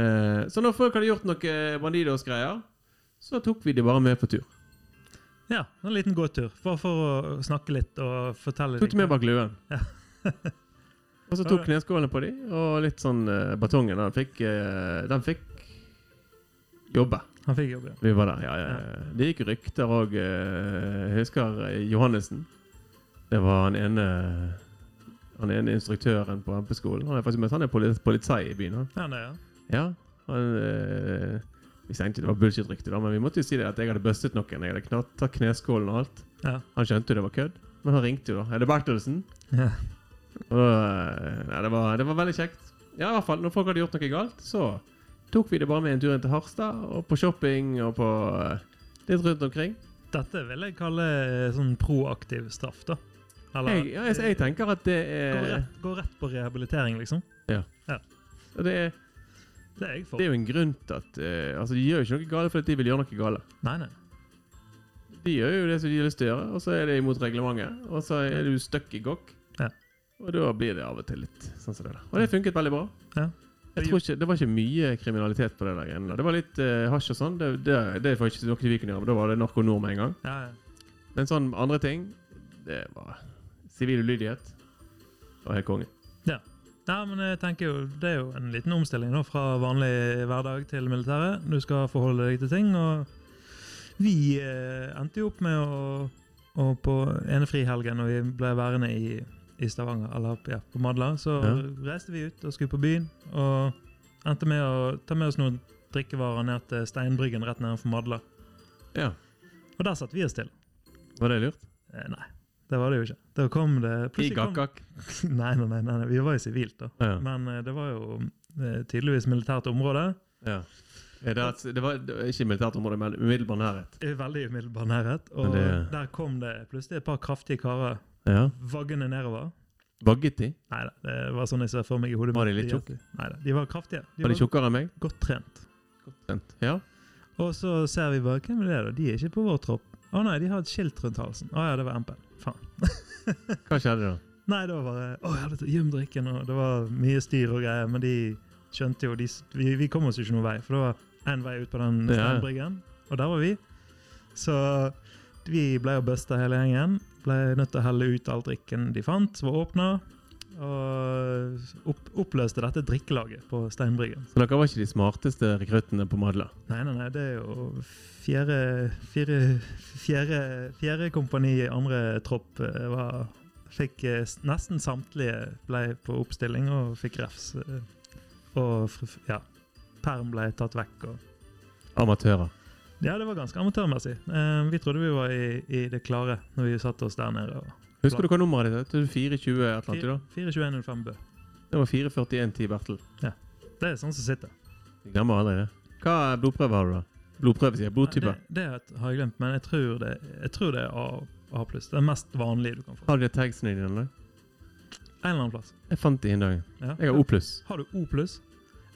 S4: Eh, så når folk hadde gjort noe Bandidos-greier, så tok vi de bare med på tur.
S1: Ja, en liten gåtur. Bare for å snakke litt og fortelle
S4: Tok de med bak luen.
S1: Ja.
S4: og så tok kneskålene på de, og litt sånn eh, batongen. Den fikk, eh, den fikk jobbe.
S1: Han fikk jobb, ja.
S4: Vi var der, ja, ja. ja. Det gikk rykter òg. Jeg husker eh, Johannessen. Det var han ene Han ene instruktøren på MP-skolen. Han er faktisk mest han er poli- politi i byen. Han.
S1: Ja, det, ja.
S4: Ja, han eh, Vi tenkte det var bullshit-rykte, da, men vi måtte jo si det at jeg hadde bustet noen. Jeg hadde knatt, tatt kneskålen og alt.
S1: Ja.
S4: Han skjønte jo det var kødd. Men han ringte jo, da. Er det Bertelsen?
S1: Ja.
S4: Og da, nei, det, var, det var veldig kjekt. Ja, i hvert fall, Når folk hadde gjort noe galt, så tok vi det bare med en tur inn til Harstad, og på shopping og på eh, litt rundt omkring.
S1: Dette vil jeg kalle eh, sånn proaktiv straff, da.
S4: Jeg, ja, jeg, jeg tenker at det
S1: gå,
S4: er,
S1: rett, gå rett på rehabilitering, liksom.
S4: og det er
S1: Det er jeg for.
S4: Det er jo en grunn til at eh, Altså, de gjør jo ikke noe gale fordi de vil gjøre noe gale.
S1: Nei, nei.
S4: De gjør jo det som de har lyst til å gjøre, og så er det imot reglementet. Og så er du stuck i gokk.
S1: Ja.
S4: Og da blir det av og til litt sånn som det der. Og det funket veldig bra.
S1: Ja.
S4: Jeg tror ikke, Det var ikke mye kriminalitet på det der greiene der. Det var litt eh, hasj og sånn. Det, det, det var ikke noe vi kunne gjøre, men da var det narko nord med en gang.
S1: Ja, ja.
S4: Men sånn andre ting Det var sivil ulydighet. Og helt konge.
S1: Nei, men jeg tenker jo, Det er jo en liten omstilling da, fra vanlig hverdag til militæret. Du skal forholde deg til ting. og Vi eh, endte jo opp med å, å På ene frihelgen når vi ble værende i, i Stavanger, eller ja, på Madla, så reiste vi ut og skulle på byen. Og endte med å ta med oss noen drikkevarer ned til Steinbryggen rett nedenfor Madla.
S4: Ja.
S1: Og der satt vi oss til.
S4: Var det lurt?
S1: Eh, nei, det var det jo ikke. Da kom det
S4: I
S1: plutselig kom,
S4: gakkak.
S1: nei, nei, nei, nei, nei, vi var jo sivilt, da.
S4: Ja.
S1: Men eh, det var jo eh, tydeligvis militært område.
S4: ja. Eh, Det, er et- det var det var ikke militært område, men umiddelbar nærhet.
S1: I veldig umiddelbar nærhet. Og
S4: Men det-
S1: der kom det plutselig et par kraftige karer
S4: Ja.
S1: vaggende nedover.
S4: Vagget de?
S1: Nei da, det var sånn jeg ser for meg i hodet.
S4: Var de
S1: mitt.
S4: litt tjukke?
S1: Neida, de var kraftige. De
S4: Var
S1: var
S4: de tjukkere enn meg?
S1: godt trent.
S4: Vent. Ja.
S1: Og så ser vi bare Hvem er det, da? De er ikke på vår tropp. Å nei, de har et skilt rundt halsen. Å ja, det var MP. Faen.
S4: Hva skjedde da?
S1: Nei, det var bare Å, jeg hadde tatt gjem drikken, og det var mye styr og greier. Men de skjønte jo de, s- vi, vi kom oss jo ikke noen vei, for det var én vei ut på den
S4: Ja.
S1: steinbryggen, og der var vi. Så vi ble jo busta hele gjengen. Ble nødt til å helle ut all drikken de fant, som var åpna. Og opp, oppløste dette drikkelaget på Steinbryggen.
S4: Så dere var ikke de smarteste rekruttene på Madla?
S1: Nei, nei, nei, det er jo fjerde Fjerde, fjerde, fjerde kompani i andre tropp eh, var Fikk eh, s- nesten samtlige ble på oppstilling og fikk refs. eh, Og fr- f- ja. Perm ble tatt vekk og
S4: Amatører.
S1: Ja, det var ganske amatørmessig. Eh, Vi trodde vi var i, i det klare når vi satte oss der nede. og-
S4: Husker du hva nummeret ditt er? 420 et eller
S1: 4-
S4: annet? da?
S1: 42105 Bø.
S4: Det var 44110 Bertel.
S1: Det er sånn som sitter.
S4: Jeg glemmer aldri det. Hva blodprøve har du, da? Blodprøve, sier jeg. Blodtype.
S1: Det, det har jeg glemt, men jeg tror det, jeg tror det er A, A pluss. Det er mest vanlige du kan få.
S4: Har du de tagsene dine? eller?
S1: En eller annen plass.
S4: Jeg fant de en dag.
S1: Ja.
S4: Jeg har O pluss.
S1: Har du O pluss?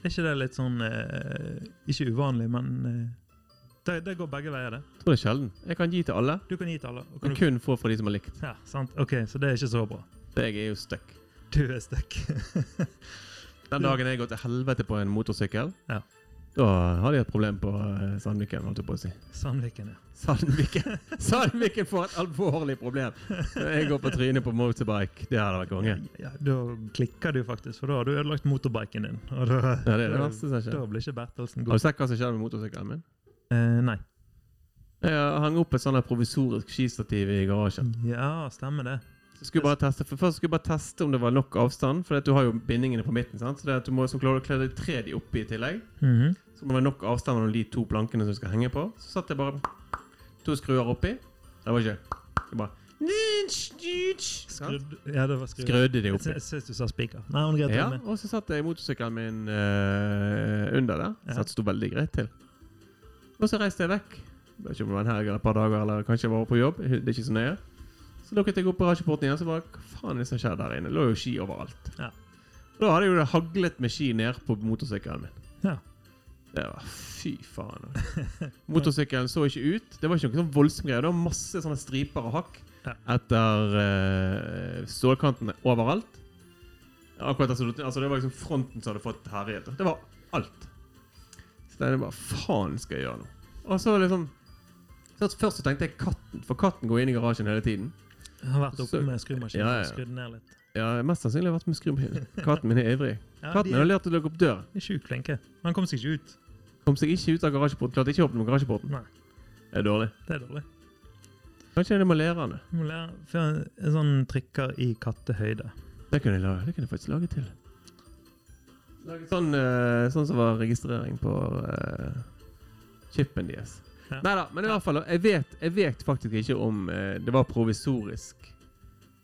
S1: Er ikke det litt sånn eh, Ikke uvanlig, men eh, det, det går begge veier, det.
S4: Tror det er sjelden. Jeg kan gi til alle,
S1: Du kan gi til alle. Og kan
S4: men
S1: du,
S4: kun få fra de som har likt.
S1: ja, sant? OK, så det er ikke så bra.
S4: Så Jeg er jo stuck.
S1: Du er stuck.
S4: Den
S1: Ja.
S4: dagen jeg går til helvete på en motorsykkel,
S1: Ja.
S4: da har de et problem på eh, Sandviken, holdt jeg på å si.
S1: Sandviken, ja.
S4: Sandviken Sandviken får et alvorlig problem. Når Jeg går på trynet på motorbike. Det hadde vært konge.
S1: ja. Da klikker du faktisk, for da har du ødelagt motorbiken din. Og da,
S4: Ja, det er det verste som skjer.
S1: Eh, da blir ikke Bertelsen
S4: Har
S1: god.
S4: du sett hva som skjedde med motorsykkelen min?
S1: Eh, nei.
S4: Jeg hang opp et sånn her provisorisk skistativ i
S1: Mm.
S4: garasjen.
S1: Ja, stemmer det.
S4: Så skulle jeg bare teste, for Først skulle jeg bare teste om det var nok avstand, for at du har jo bindingene på midten. sant? Så det er at du må så klarer du å kle de tre de oppi i tillegg.
S1: Mhm.
S4: Så må det være nok avstand mellom de to plankene som du skal henge på. Så satt jeg bare to skruer oppi. Det var ikke Det bare Sant?
S1: Skrudd Ja, det var skrudd.
S4: Skrudde de
S1: Jeg
S4: oppi.
S1: sy- jeg syns du sa spiker. Nei, men greit.
S4: Ja,
S1: jeg er med.
S4: og så satt jeg motorsykkelen min eh, under der.
S1: Ja.
S4: Så det sto veldig greit til. Og så reiste jeg vekk. Jeg vet ikke om det var en helg eller et par dager, eller kanskje jeg var på jobb. Det er ikke så nøye. Så lukket jeg opp garasjeporten igjen, så bare Hva faen er det som skjer der inne? Det lå jo ski overalt.
S1: Ja.
S4: Og Da hadde jo det haglet med ski ned på motorsykkelen min.
S1: Ja.
S4: Det var Fy faen. altså. Motorsykkelen så ikke ut. Det var ikke noe sånn voldsom greie. Det var masse sånne striper og hakk
S1: Ja.
S4: etter eh, stålkantene overalt. Akkurat altså, du- altså Det var liksom fronten som hadde fått herjet. da. Det var alt. Så det er bare Faen skal jeg gjøre nå? Og så liksom så Først så tenkte jeg katten, for katten går inn i garasjen hele tiden.
S1: Jeg har vært oppe
S4: Så-
S1: med skrumaskin
S4: Ja, ja.
S1: og skrudd ned litt.
S4: Ja, Mest sannsynlig har jeg vært med skrumaskinen. Katten min er ivrig.
S1: Ja,
S4: Katten
S1: de
S4: har
S1: er
S4: lært å lukke opp døren.
S1: sjukt flinke. Han kom seg ikke ut.
S4: Kom seg ikke ut av garasjeporten. Klarte ikke å åpne garasjeporten.
S1: Nei.
S4: Det er dårlig.
S1: Det er dårlig.
S4: Kanskje det må lære han det.
S1: Du må lære for en, en sånn trykker i kattehøyde.
S4: Det kunne jeg, lage. Det kunne jeg faktisk lage til. Lage sånn, eh, sånn som var registrering på eh, chipen deres.
S1: Ja.
S4: Neida, men i hvert fall, jeg vet, jeg vet faktisk ikke om eh, det var provisorisk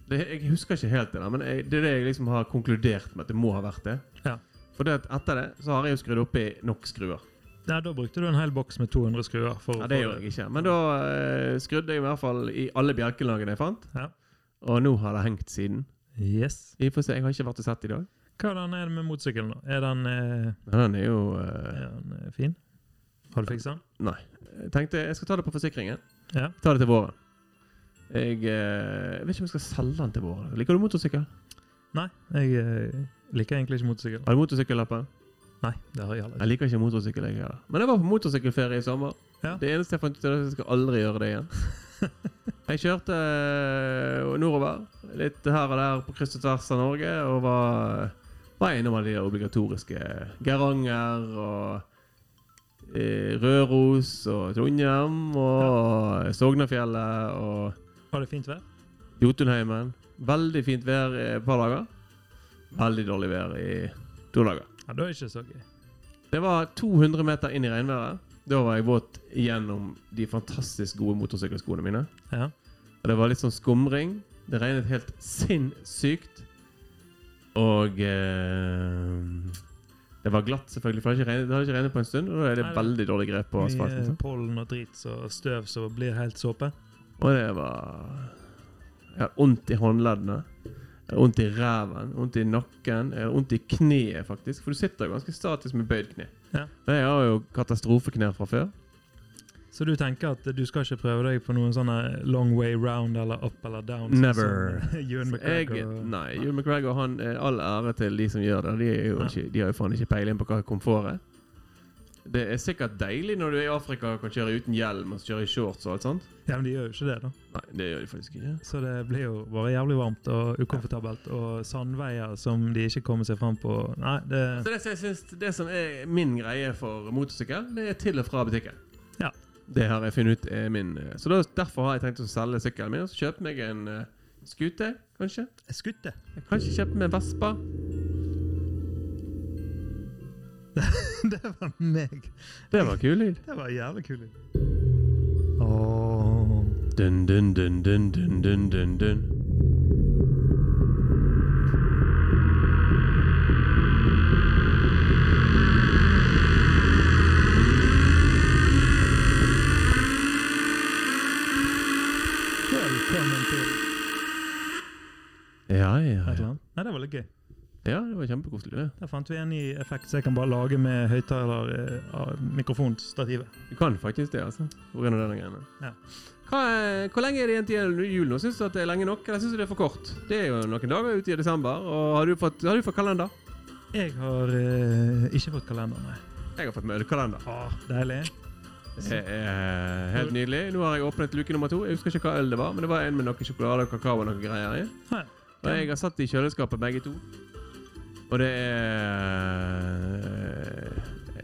S4: det, Jeg husker ikke helt det, der, men jeg, det er det jeg liksom har konkludert med at det må ha vært det.
S1: Ja.
S4: For det at etter det så har jeg jo skrudd opp i nok skruer.
S1: Nei, da brukte du en hel boks med 200 skruer. For,
S4: Ja, det
S1: for-
S4: gjorde jeg ikke. Men da eh, skrudde jeg i hvert fall i alle bjelkelagene jeg fant.
S1: Ja.
S4: Og nå har det hengt siden.
S1: Yes.
S4: Vi får se, Jeg har ikke vært og sett i dag.
S1: Hvordan er det med motorsykkelen? da? Er den, eh,
S4: Men den er jo eh,
S1: er den eh, fin? Har du fiksa den?
S4: Nei. Jeg tenkte jeg skal ta det på forsikringen.
S1: Ja.
S4: Ta det til våren. Jeg, eh, jeg vet ikke om jeg skal selge den til våren. Liker du motorsykkel?
S1: Nei, jeg eh, liker egentlig ikke motorsykkel.
S4: Har du motorsykkellappen?
S1: Nei, det har jeg heller
S4: Jeg liker ikke motorsykkel, jeg heller. Men jeg var på motorsykkelferie i sommer.
S1: Ja.
S4: Det eneste jeg fant ut, er at jeg skal aldri gjøre det igjen. jeg kjørte øh, nordover, litt her og der på kryss og tvers av Norge, og var, var innom alle de der obligatoriske Geranger og eh, Røros og Trondheim og Sognefjellet og
S1: ikke. Var det fint vær?
S4: Jotunheimen. Veldig fint vær i et par dager. Veldig dårlig vær i to dager.
S1: Ja, Da er det ikke så gøy.
S4: Det var 200 meter inn i regnværet. Da var jeg våt gjennom de fantastisk gode motorsykkelskoene mine.
S1: Ja.
S4: Og det var litt sånn skumring. Det regnet helt sinnssykt. Og eh, det var glatt, selvfølgelig, for det har ikke regnet, det har ikke regnet på en stund. Og da er det
S1: Nei, det-
S4: veldig dårlig grep på asfalten.
S1: Mye
S4: sant?
S1: pollen og drit og støv som blir helt såpe.
S4: Og det var Jeg hadde vondt i håndleddene. Jeg hadde Vondt i ræven, vondt i nakken, jeg hadde vondt i kneet, faktisk. For du sitter jo ganske statisk med bøyd kne.
S1: Ja.
S4: Men jeg har jo katastrofeknær fra før.
S1: Så du tenker at du skal ikke prøve deg på noen sånne long way round eller up eller down? sånn
S4: Never.
S1: som, eh, Ewan
S4: Så
S1: McGregor
S4: Jeg,
S1: og-
S4: nei, Hugh McGregor han, eh, all ære til de som gjør det. De, er jo
S1: Ja.
S4: ikke, de har jo faen ikke peiling på hva komfort er. Det er sikkert deilig når du er i Afrika og kan kjøre uten hjelm og så kjøre i shorts og alt sånt.
S1: Ja, men de gjør jo ikke det, da.
S4: Nei, det gjør de faktisk ikke.
S1: Så det blir jo bare jævlig varmt og ukomfortabelt. Og sandveier som de ikke kommer seg fram på. Nei, det
S4: Så det, som jeg syns, det som er min greie for motorsykkel, det er til og fra butikken.
S1: Ja.
S4: Det har jeg funnet ut er min eh, Så da, derfor har jeg tenkt å selge sykkelen min og så kjøpe meg en eh, skute, kanskje.
S1: Skutte!
S4: Jeg kan ikke kjøpe meg en Vespa.
S1: Det var meg.
S4: Det var kul lyd.
S1: Det var jævlig kul.
S4: Dun, dun, dun, dun, dun, dun, dun, dun.
S1: Velkommen til
S4: Ja, ja,
S1: Et eller
S4: ja.
S1: annet. Nei, det var litt gøy.
S4: ja det var kjempekoselig, det.
S1: Der fant vi en ny effekt som jeg kan bare lage med høyttaler eh, av mikrofonstativet.
S4: Du kan faktisk det, altså. På grunn av denne greiene.
S1: Ja.
S4: Hva, er- hvor lenge er det igjen til jul nå? Syns du at det er lenge nok, eller syns du det er for kort? Det er jo noen dager ute i desember, og har du fått, har du fått kalender?
S1: Jeg har eh, ikke fått kalender, nei.
S4: Jeg har fått møllkalender.
S1: Ah, deilig.
S4: Det er Eh, helt nydelig. Nå har jeg åpnet luke nummer to. Jeg husker ikke hva øl det var, men det var en med noe sjokolade og kakao og noe greier i.
S1: Nei.
S4: Og jeg har satt i kjøleskapet begge to. Og det er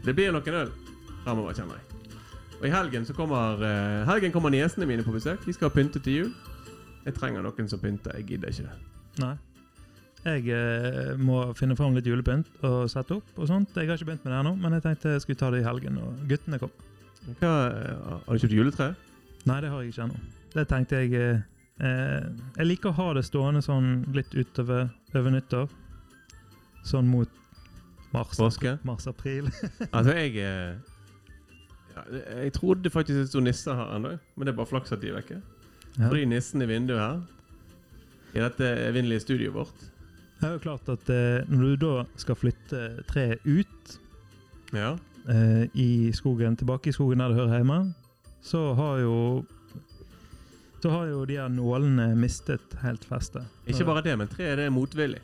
S4: Det blir noen øl fremover, kjenner jeg. Og i helgen så kommer eh, Helgen kommer niesene mine på besøk. De skal pynte til jul. Jeg trenger noen som pynter. Jeg gidder ikke det.
S1: Nei. Jeg eh, må finne fram litt julepynt og sette opp og sånt. Jeg har ikke begynt med det ennå, men jeg tenkte jeg skulle ta det i helgen når guttene kom.
S4: Hva, eh, har du kjøpt juletre?
S1: Nei, det har jeg ikke ennå. Det tenkte jeg eh, eh, Jeg liker å ha det stående sånn litt utover over nyttår. Sånn mot mars.
S4: Påske?
S1: Mars-april.
S4: Altså, jeg eh, ja, Jeg trodde faktisk det sto nisser her ennå, men det er bare flaks at de er vekke.
S1: Ja.
S4: Fordi nissen i vinduet her, i dette evinnelige studioet vårt
S1: Det er jo klart at eh, når du da skal flytte treet ut
S4: Ja.
S1: eh, i skogen, tilbake i skogen der det hører hjemme, så har jo så har jo de her nålene mistet helt festet.
S4: Ikke bare det, men treet det er motvillig.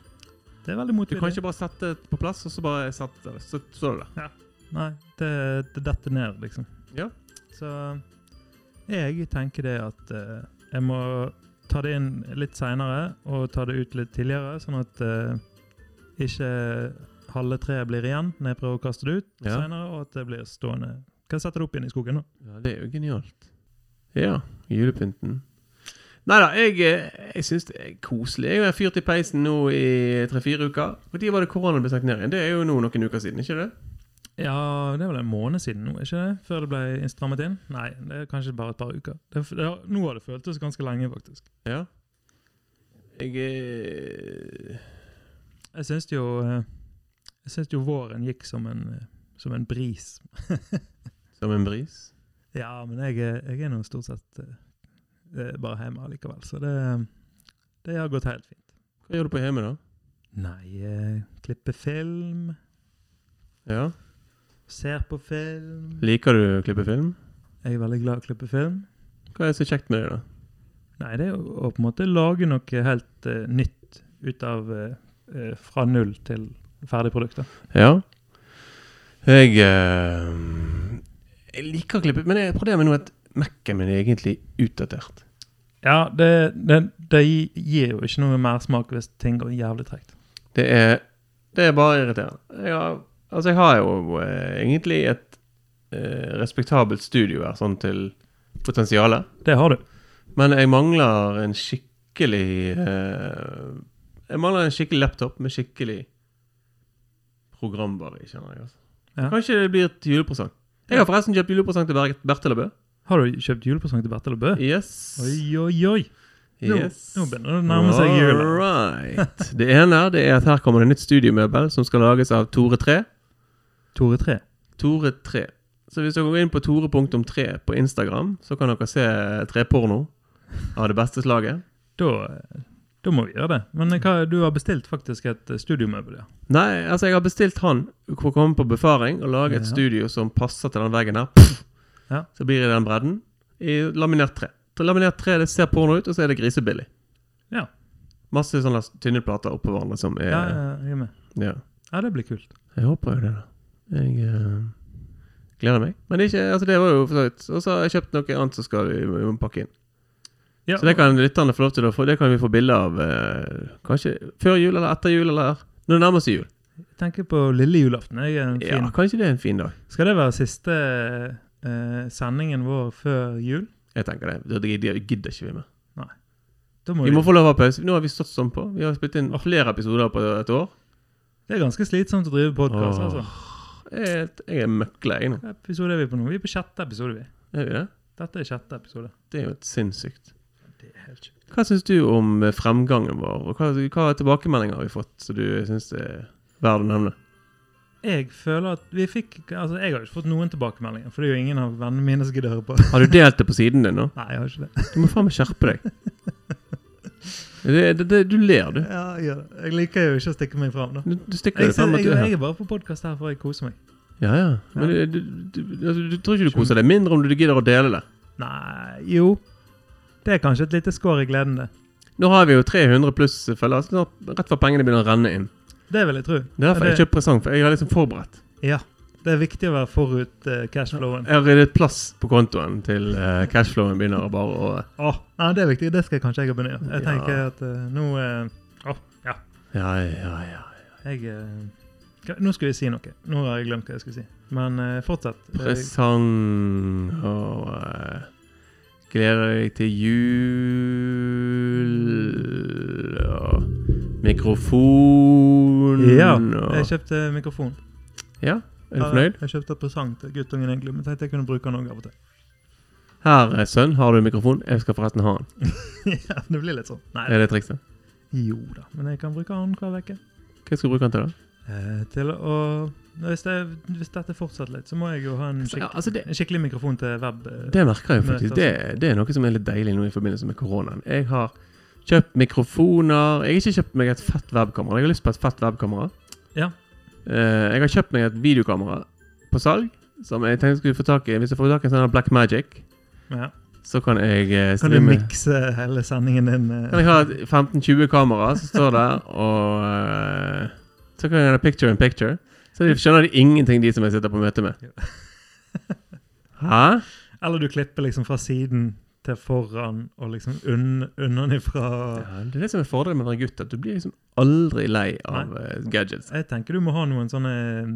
S1: Det er veldig
S4: Du kan
S1: motvillig.
S4: ikke bare sette det på plass, og så bare sette det. Så står det der.
S1: Nei, det, det detter ned, liksom.
S4: Ja.
S1: Så jeg tenker det at eh, jeg må ta det inn litt seinere og ta det ut litt tidligere, sånn at eh, ikke halve treet blir igjen når jeg prøver å kaste det ut
S4: Ja.
S1: senere, og at det blir stående. Kan jeg sette det opp igjen i skogen nå.
S4: ja, det er jo genialt. Ja. Julepynten. Nei da, jeg, eh, jeg syns det er koselig. Jeg har fyrt i peisen nå i tre-fire uker. Når var det koronaen ble stengt ned igjen? Det er jo nå noen uker siden, ikke det?
S1: Ja, det er vel en måned siden nå, ikke det? Før det ble strammet inn? Nei, det er kanskje bare et par uker. Det, det, har- nå har det føltes ganske lenge, faktisk.
S4: Ja. Jeg eh,
S1: Jeg syns jo eh, Jeg syns jo våren gikk som en, eh, som en bris.
S4: Som en bris.
S1: Ja, men jeg, er- jeg er nå stort sett eh, eh, bare hjemme allikevel, så det, det har gått helt fint.
S4: Hva gjør du på hjemme, da?
S1: Nei, eh, klippe film,
S4: Ja.
S1: ser på film
S4: Liker du å klippe film?
S1: Jeg er veldig glad i å klippe film.
S4: Hva er så kjekt med det, da?
S1: Nei, det er jo å på en måte lage noe helt eh, nytt ut av eh, eh, Fra null til ferdig produkt. da.
S4: Ja. Jeg eh, Jeg liker å klippe, men jeg problemet er nå at Mac-en min er egentlig utdatert.
S1: Ja, det, det, det gir jo ikke noe mersmak hvis ting går jævlig tregt.
S4: Det er, det er bare irriterende. Jeg har, altså, jeg har jo eh, egentlig et eh, respektabelt studio her, sånn til potensialet.
S1: Det har du.
S4: Men jeg mangler en skikkelig eh, Jeg mangler en skikkelig laptop med skikkelig programvare, i, kjenner jeg. altså.
S1: Ja.
S4: Kanskje det blir til julepresang. Jeg har forresten kjøpt julepresang til Ber- Bertil og Bø.
S1: Har du kjøpt julepresang til Bertil og Bø?
S4: Yes.
S1: Oi, oi, oi! Nå,
S4: yes.
S1: nå begynner det å nærme seg jul.
S4: All right. Det ene er, det er at her kommer det nytt studiemøbel som skal lages av Tore 3.
S1: Tore 3.
S4: Tore 3. Så hvis dere går inn på tore.3 på Instagram, så kan dere se eh, treporno av det beste slaget.
S1: Da, eh, da må vi gjøre det. Men eh, hva, du har bestilt faktisk et eh, studiomøbel, ja.
S4: Nei, altså jeg har bestilt han for å komme på befaring og lage et
S1: Ja.
S4: studio som passer til den veggen her. Pff!
S1: Ja.
S4: Så blir det den bredden i laminert tre. Så laminert tre, det ser porno ut, og så er det grisebillig.
S1: Ja.
S4: Masse sånne tynne plater oppå hverandre som er
S1: Ja, ja, jeg er med.
S4: ja.
S1: Ja, det blir kult.
S4: Jeg håper jo det, da. Jeg eh, gleder meg. Men det, er ikke, altså det var jo for så vidt. Og så har jeg kjøpt noe annet som skal vi vi må pakke inn.
S1: Ja,
S4: Så det kan lytterne få lov til å få. Det kan vi få bilde av eh, kanskje før jul eller etter jul eller når det nærmer seg jul.
S1: Jeg tenker på lille julaften. Jeg er en fin.
S4: Ja, kanskje det er en fin dag.
S1: Skal det være siste eh, sendingen vår før jul?
S4: Jeg tenker det. Det gidder, gidder ikke vi mer.
S1: Da må
S4: Vi
S1: vi,
S4: må få lov å ha pause. Nå har vi stått sånn på. Vi har spilt inn flere episoder på et år.
S1: Det er ganske slitsomt å drive podkast.
S4: Åh.
S1: Altså.
S4: Jeg er, jeg er møkla, jeg nå.
S1: Hva episode er vi på nå? Vi er på sjette episode. vi.
S4: Er vi det?
S1: Dette er sjette episode.
S4: Det er jo et sinnssykt.
S1: Det er helt sjukt.
S4: Hva syns du om eh, fremgangen vår, og hva, hva tilbakemeldinger har vi fått som du syns er verdt å nevne?
S1: Jeg føler at vi fikk Altså, jeg har jo ikke fått noen tilbakemeldinger, for det er jo ingen av vennene mine som gidder å høre på.
S4: Har du delt det på siden din nå?
S1: Nei, jeg har ikke det.
S4: Du må faen meg skjerpe deg. Det, det, det, du ler, du.
S1: Ja, jeg, gjør det. jeg liker jo ikke å stikke meg fram, da.
S4: Du, du stikker
S1: Jeg,
S4: deg frem
S1: ser- jeg,
S4: at du er her.
S1: jeg er bare på podkast her for jeg koser meg.
S4: Ja, ja. Men du, du, du, altså, du tror ikke du koser deg mindre om du gidder å dele det.
S1: Nei, jo. Det er kanskje et lite skår i gleden, det.
S4: Nå har vi jo 300 pluss følgere, så snart- rett før pengene begynner å renne inn.
S1: Det vil jeg tro.
S4: Det er derfor
S1: Ja,
S4: jeg kjøper presang, for jeg har liksom forberedt.
S1: Ja. Det er viktig å være forut eh, cashflowen.
S4: Jeg har ryddet plass på kontoen til eh, cashflowen begynner å bare å
S1: Åh, nei, det er viktig. Det skal kanskje jeg begynne å gjøre. Jeg
S4: Ja.
S1: tenker at eh, nå eh,
S4: Ja, ja, ja.
S1: jeg, eh, hva- Nå skulle jeg si noe. Nå har jeg glemt hva jeg skulle si. Men eh, fortsett. Eh,
S4: Presang og eh, Gleder deg til jul og mikrofon
S1: Ja, jeg
S4: og
S1: kjøpte mikrofon.
S4: Ja, er du fornøyd?
S1: Ja, Jeg kjøpte presang til guttungen, egentlig, men tenkte jeg kunne bruke den også av og til.
S4: Her, eh, sønn, har du mikrofon. Jeg skal forresten ha den.
S1: ja, det blir litt sånn. Nei,
S4: Er det trikset?
S1: jo da. Men jeg kan bruke den hver uke.
S4: Hva skal du bruke den til, da?
S1: Eh, til å hvis, det, hvis dette fortsetter litt, så må jeg jo ha en, skikk,
S4: Ja, altså det,
S1: en skikkelig mikrofon til web. eh,
S4: Det merker jeg jo
S1: møte,
S4: faktisk.
S1: altså.
S4: Det, det er noe som er litt deilig nå i forbindelse med koronaen. Jeg har kjøpt mikrofoner. Jeg har ikke kjøpt meg et fett webkamera. Jeg har lyst på et fett webkamera.
S1: Ja.
S4: Eh, jeg har kjøpt meg et videokamera på salg. Som jeg tenkte jeg skulle få tak i Hvis jeg får tak i en sånn her Black Magic,
S1: Ja.
S4: så kan jeg eh,
S1: Kan du
S4: streame-
S1: mikse hele sendingen din? eh?
S4: Kan jeg ha et 15-20 kamera som står der, og eh, så kan jeg ha picture in picture. Så de skjønner de ingenting, de som jeg sitter på møte med. Hæ?
S1: Eller du klipper liksom fra siden til foran og liksom unn, unnanifra.
S4: Ja, det er det som er fordelen med å være gutt, at du blir liksom aldri lei av eh, gadgets.
S1: Jeg tenker du må ha noen sånne eh,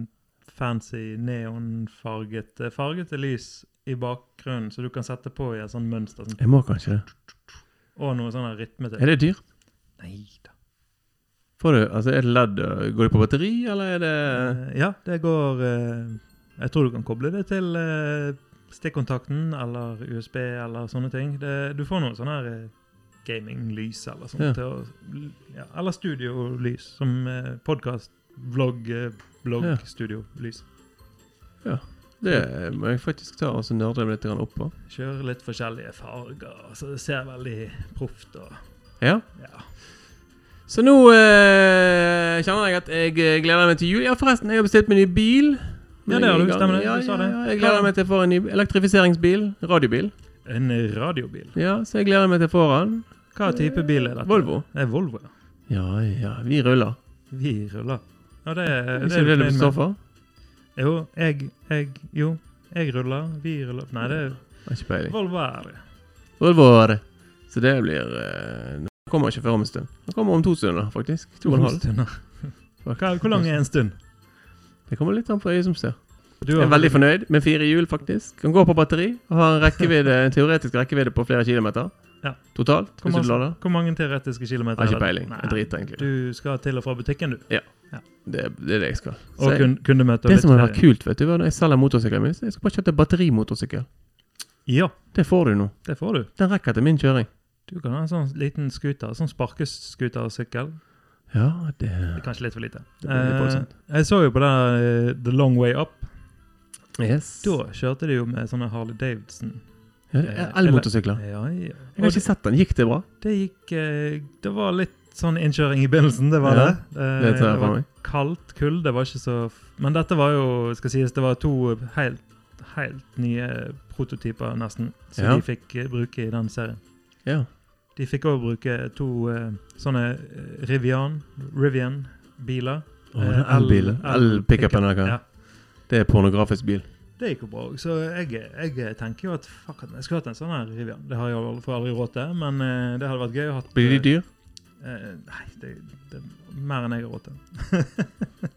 S1: fancy neonfargete fargete lys i bakgrunnen, så du kan sette på i et sånt mønster. Sånn,
S4: Jeg må kanskje det.
S1: og noe sånn her rytme til.
S4: Er det dyrt?
S1: Nei da.
S4: Får du, altså, er det LED, og går det på batteri, eller er det
S1: Eh, Ja, det går eh, Jeg tror du kan koble det til eh, stikkontakten eller USB eller sånne ting. Det, du får noe sånn her eh, gaminglys eller sånt.
S4: Ja.
S1: Til å, ja, eller studiolys, som eh, podkast, vlogg, eh, blogg,
S4: Ja.
S1: studiolys.
S4: Det må jeg faktisk ta og så nerde meg litt grann opp på.
S1: Kjøre litt forskjellige farger, så det ser veldig proft og
S4: Ja.
S1: ja.
S4: Så nå eh, kjenner jeg at jeg eh, gleder meg til jul. Ja, forresten, jeg har bestilt meg ny bil.
S1: Ja, det har du,
S4: Jeg er i gang-
S1: stemmer det.
S4: Ja,
S1: Du sa
S4: ja,
S1: det.
S4: ja, jeg gleder meg til å få en ny elektrifiseringsbil. Radiobil.
S1: En radiobil.
S4: Ja, så jeg gleder meg til å få den.
S1: Hva type bil er dette?
S4: Volvo.
S1: Det er Volvo, ja.
S4: Ja, ja, vi ruller.
S1: Vi ruller. Ja, det, er-
S4: Er
S1: det
S4: ikke
S1: er
S4: det det
S1: fornøyd
S4: du
S1: med.
S4: står for?
S1: Jo, jeg, jeg, jo, jeg ruller, vi ruller. Nei, det er
S4: Har ikke peiling.
S1: Volvo er det.
S4: Volvor. Så det blir eh, Den kommer ikke før om en stund. Den kommer om to stunder, faktisk. To og en halv.
S1: stunder. Hva, hvor lang er en stund?
S4: Det kommer litt an på øyet som ser.
S1: Du
S4: Jeg er veldig fornøyd med fire hjul, faktisk. Kan gå på batteri. Og har en, rekkevidde, en teoretisk rekkevidde på flere kilometer.
S1: Ja.
S4: Totalt.
S1: Hvor
S4: Hvis du lader.
S1: mange, hvor mange teoretiske kilometer?
S4: Har
S1: er
S4: ikke
S1: det?
S4: peiling.
S1: Nei,
S4: Jeg driter egentlig.
S1: Du skal til og fra butikken, du.
S4: Det, det er det jeg skal. Så
S1: Og
S4: jeg,
S1: kun, kundemøte. og
S4: det
S1: litt
S4: som hadde vært
S1: ferie.
S4: kult, vet du, var når jeg selger motorsykkelen min, så jeg skal bare kjøpe batterimotorsykkel.
S1: Ja,
S4: Det får du nå.
S1: det får du.
S4: Den rekker til min kjøring.
S1: Du kan ha en sånn liten scooter, sånn sparkescootersykkel.
S4: Ja,
S1: Det
S4: det
S1: er Kanskje litt for lite.
S4: Det blir litt voldsomt.
S1: Eh, jeg så jo på den eh, The Long Way Up.
S4: Yes.
S1: Da kjørte de jo med sånne Harley Davidson.
S4: Ja, det er Elmotorsykler.
S1: Ja, ja.
S4: Jeg har
S1: Og
S4: ikke sett den. Gikk det bra?
S1: Det gikk eh, Det var litt sånn innkjøring i begynnelsen, det var
S4: Ja,
S1: det. Eh,
S4: Det tar jeg
S1: var
S4: for meg.
S1: kaldt, kulde var ikke så f Men dette var jo, skal sies, det var to helt, helt nye prototyper, nesten, som
S4: Ja.
S1: de fikk eh, bruke i den serien.
S4: Ja.
S1: De fikk òg bruke to eh, sånne eh, Rivian, Rivian-biler.
S4: Åh,
S1: Eh,
S4: det er elbilen.
S1: el-
S4: El-pickupen.
S1: pickup,
S4: Ja.
S1: ja.
S4: Det er pornografisk bil.
S1: Det gikk jo bra òg, så jeg, jeg tenker jo at fuck, at jeg skulle hatt en sånn her Rivian. Det har jeg i alle fall aldri råd til, men eh, det hadde vært gøy å ha.
S4: Blir de dyr?
S1: Eh, nei, det, det er mer enn jeg har råd til.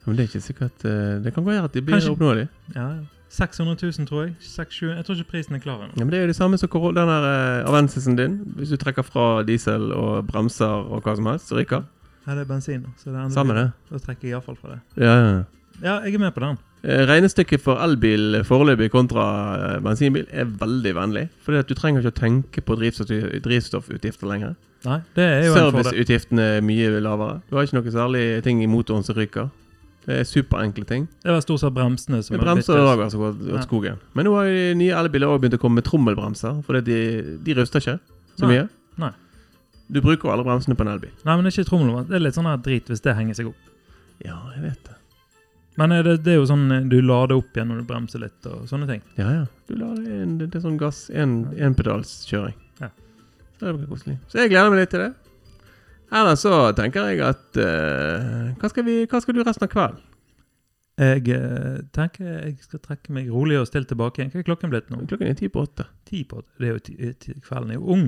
S4: Men det er ikke sikkert eh, Det kan være at de blir
S1: Kanskje-
S4: oppnåelige.
S1: Ja, ja. 600 000, tror jeg. 600 000. Jeg tror ikke prisen er klar ennå.
S4: Ja, men Det er jo det samme som Corolla- den her eh, Avensisen din. Hvis du trekker fra diesel og bremser og hva som helst, så ryker.
S1: Ja, det er bensin. Så det er enda
S4: Samme det.
S1: Da trekker jeg iallfall fra det.
S4: Ja, ja. ja.
S1: Ja, jeg er med på den.
S4: Eh, Regnestykket for elbil foreløpig kontra eh, bensinbil er veldig vennlig. Fordi at du trenger ikke å tenke på drivstoff- drivstoffutgifter lenger.
S1: Nei, det er jo en fordel.
S4: Serviceutgiftene er mye lavere. Du har ikke noe særlig ting i motoren som ryker. Det er superenkle ting.
S1: Det var stort sett bremsene som
S4: Det
S1: er
S4: bremser
S1: byttes.
S4: òg, altså, gått gått
S1: Ja.
S4: skogen. Men nå har jo de nye elbiler også begynt å komme med trommelbremser, for de, de ruster ikke så
S1: Nei.
S4: mye.
S1: Nei.
S4: Du bruker jo alle bremsene på en elbil.
S1: Nei, men det er ikke trommelvann. Det er litt sånn her drit hvis det henger seg opp.
S4: Ja, jeg vet det.
S1: Men eh, det, det er jo sånn eh, du lader opp igjen når du bremser litt og sånne ting.
S4: Ja, ja. Du lar det, en, det er sånn gass, en, enpedalskjøring.
S1: Ja.
S4: Så det blir koselig. Så jeg gleder meg litt til det. Ellers så tenker jeg at eh, hva, skal vi, hva skal du resten av kvelden?
S1: Jeg eh, tenker jeg skal trekke meg rolig og stille tilbake igjen. Hva er klokken blitt nå?
S4: Klokken er ti på åtte.
S1: Ti på Det er jo ti, eh, ti, Kvelden er jo ung.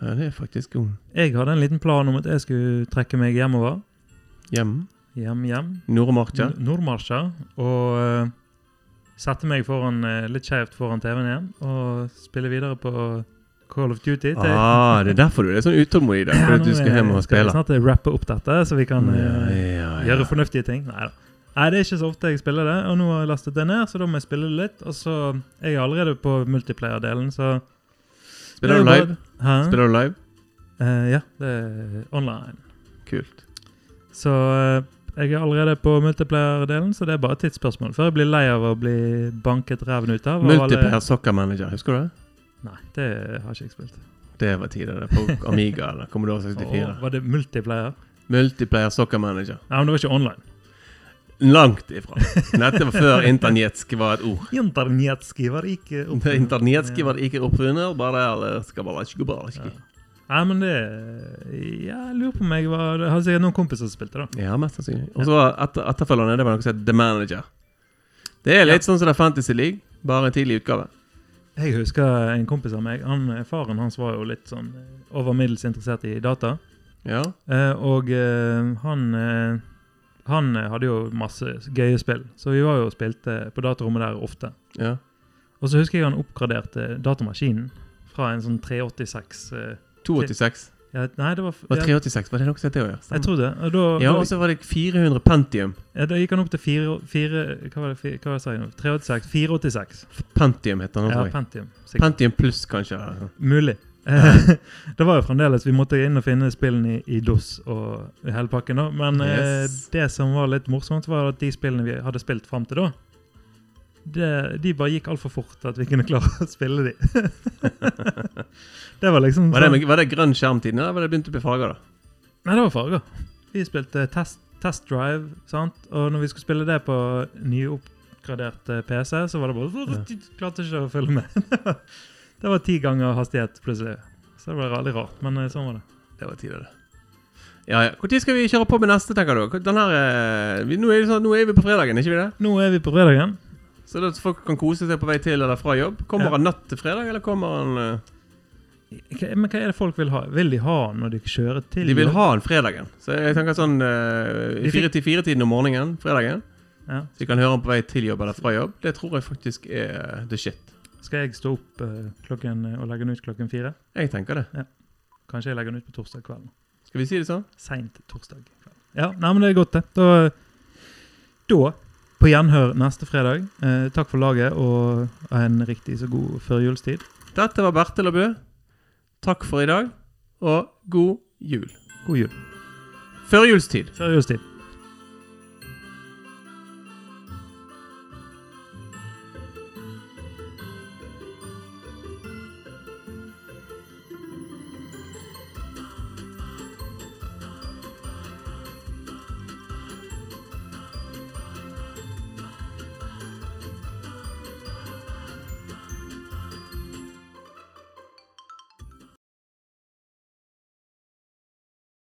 S4: Ja, det er faktisk god.
S1: Jeg hadde en liten plan om at jeg skulle trekke meg hjemover.
S4: Hjem.
S1: Hjem, hjem.
S4: Nordmarka.
S1: N- Nordmarsja. Og eh, sette meg foran, eh, litt skjevt foran TV-en igjen og spille videre på Call of Duty. til-
S4: Ah, det er derfor du er sånn utålmodig, da.
S1: Ja,
S4: Fordi at
S1: nå
S4: du skal
S1: er-
S4: hjem og
S1: Skal vi
S4: spille.
S1: snart rappe opp dette, så vi kan eh,
S4: ja,
S1: gjøre fornuftige ting? Nei da. Nei, det er ikke så ofte jeg spiller det, og nå har jeg lastet det ned, så da må jeg spille det litt. Og så er jeg allerede på multiplayer-delen, så
S4: Spiller
S1: Det er
S4: du
S1: jo
S4: live?
S1: Hæ?
S4: Spiller du live?
S1: Eh, ja, det er online.
S4: Kult.
S1: Så eh, jeg er allerede på multiplayer-delen, så det er bare et tidsspørsmål før jeg blir lei av å bli banket ræven ut av. av alle-
S4: Multiplayer Soccer Manager, husker du det?
S1: Nei, det har ikke jeg spilt.
S4: Det var tider det, på Amiga eller Commodore 64.
S1: Å, var det multiplayer?
S4: Multiplayer Soccer Manager.
S1: Ja, men det var ikke online.
S4: Langt ifra. Dette var før internetsk var et ord.
S1: Internetski var det
S4: eh,
S1: ikke opp-
S4: Internetski var det ikke oppfunnet, bare eller skabalaskubalaski.
S1: Nei, men det ja, Jeg lurer på om jeg var Jeg hadde sikkert noen kompiser som spilte, da.
S4: Ja, mest sannsynlig. Og så var etter, etterfølgerne, det var noe som het The Manager. Det er litt sånn som det er Fantasy League, bare en tidlig utgave.
S1: Jeg husker en kompis av meg. Han, faren hans var jo litt sånn eh, over middels interessert i data.
S4: Ja.
S1: Eh, og eh, han eh, Han eh, hadde jo masse gøye spill, så vi var jo og spilte på datarommet der ofte.
S4: ja.
S1: Og så husker jeg han oppgraderte datamaskinen fra en sånn 386 eh,
S4: 286.
S1: ja, Nei, det var,
S4: Var
S1: ja,
S4: 386, var det noe som het det òg? ja?
S1: Jeg
S4: Stemmer.
S1: tror det. Og da,
S4: Ja,
S1: da,
S4: og så var det 400 Pentium.
S1: ja, da gikk han opp til fire, fire Hva var det, fire, hva var det jeg sa jeg nå? 386? 486.
S4: Pentium heter den.
S1: Ja,
S4: også.
S1: Pentium. sikkert.
S4: Pentium pluss, kanskje. eller noe sånt.
S1: Mulig. Eh, det var jo fremdeles Vi måtte inn og finne spillene i, i DOS og hele pakken. da Men eh,
S4: Yes.
S1: det som var litt morsomt, var at de spillene vi hadde spilt fram til da, det, de bare gikk altfor fort til at vi kunne klare å spille de. det var liksom
S4: Var det,
S1: sånn-
S4: med- var det grønn skjermtid da? Var det begynt å bli farger, da?
S1: Nei, det var farger. Vi spilte test, test Drive, sant? og når vi skulle spille det på nyoppgradert eh, PC, så var det bare Klarte ikke å følge med. det var ti ganger hastighet, plutselig. Så det var veldig rart, men eh, sånn var det.
S4: Det var tider, det. Ja, ja. Når skal vi kjøre på med neste, tenker du? Hvor- Den her, eh, vi, nå, er det sånn, nå er vi på fredagen, ikke vi det?
S1: Nå er vi på fredagen.
S4: Så da folk kan kose seg på vei til eller fra jobb. Kommer
S1: Ja.
S4: han natt til fredag, eller kommer han eh,
S1: Hva, men hva er det folk vil ha? Vil de ha når de kjører til
S4: De vil
S1: jobb?
S4: ha han fredagen. Så jeg tenker sånn eh, i
S1: De
S4: fire
S1: fikk-
S4: til fire-tiden om morgenen fredagen.
S1: Ja.
S4: Så vi kan høre han på vei til jobb eller fra jobb. Det tror jeg faktisk er the shit.
S1: Skal jeg stå opp eh, klokken, og legge den ut klokken fire?
S4: Jeg tenker det.
S1: Kanskje jeg legger den ut på torsdag kvelden.
S4: Skal vi si det sånn?
S1: Seint torsdag kveld. Ja, nei, men det er godt, det. Da, da på gjenhør neste fredag. Eh, takk for laget, og ha en riktig så god førjulstid.
S4: Dette var Bertil og Bø. Takk for i dag, og god jul.
S1: God jul.
S4: Førjulstid.
S1: Førjulstid.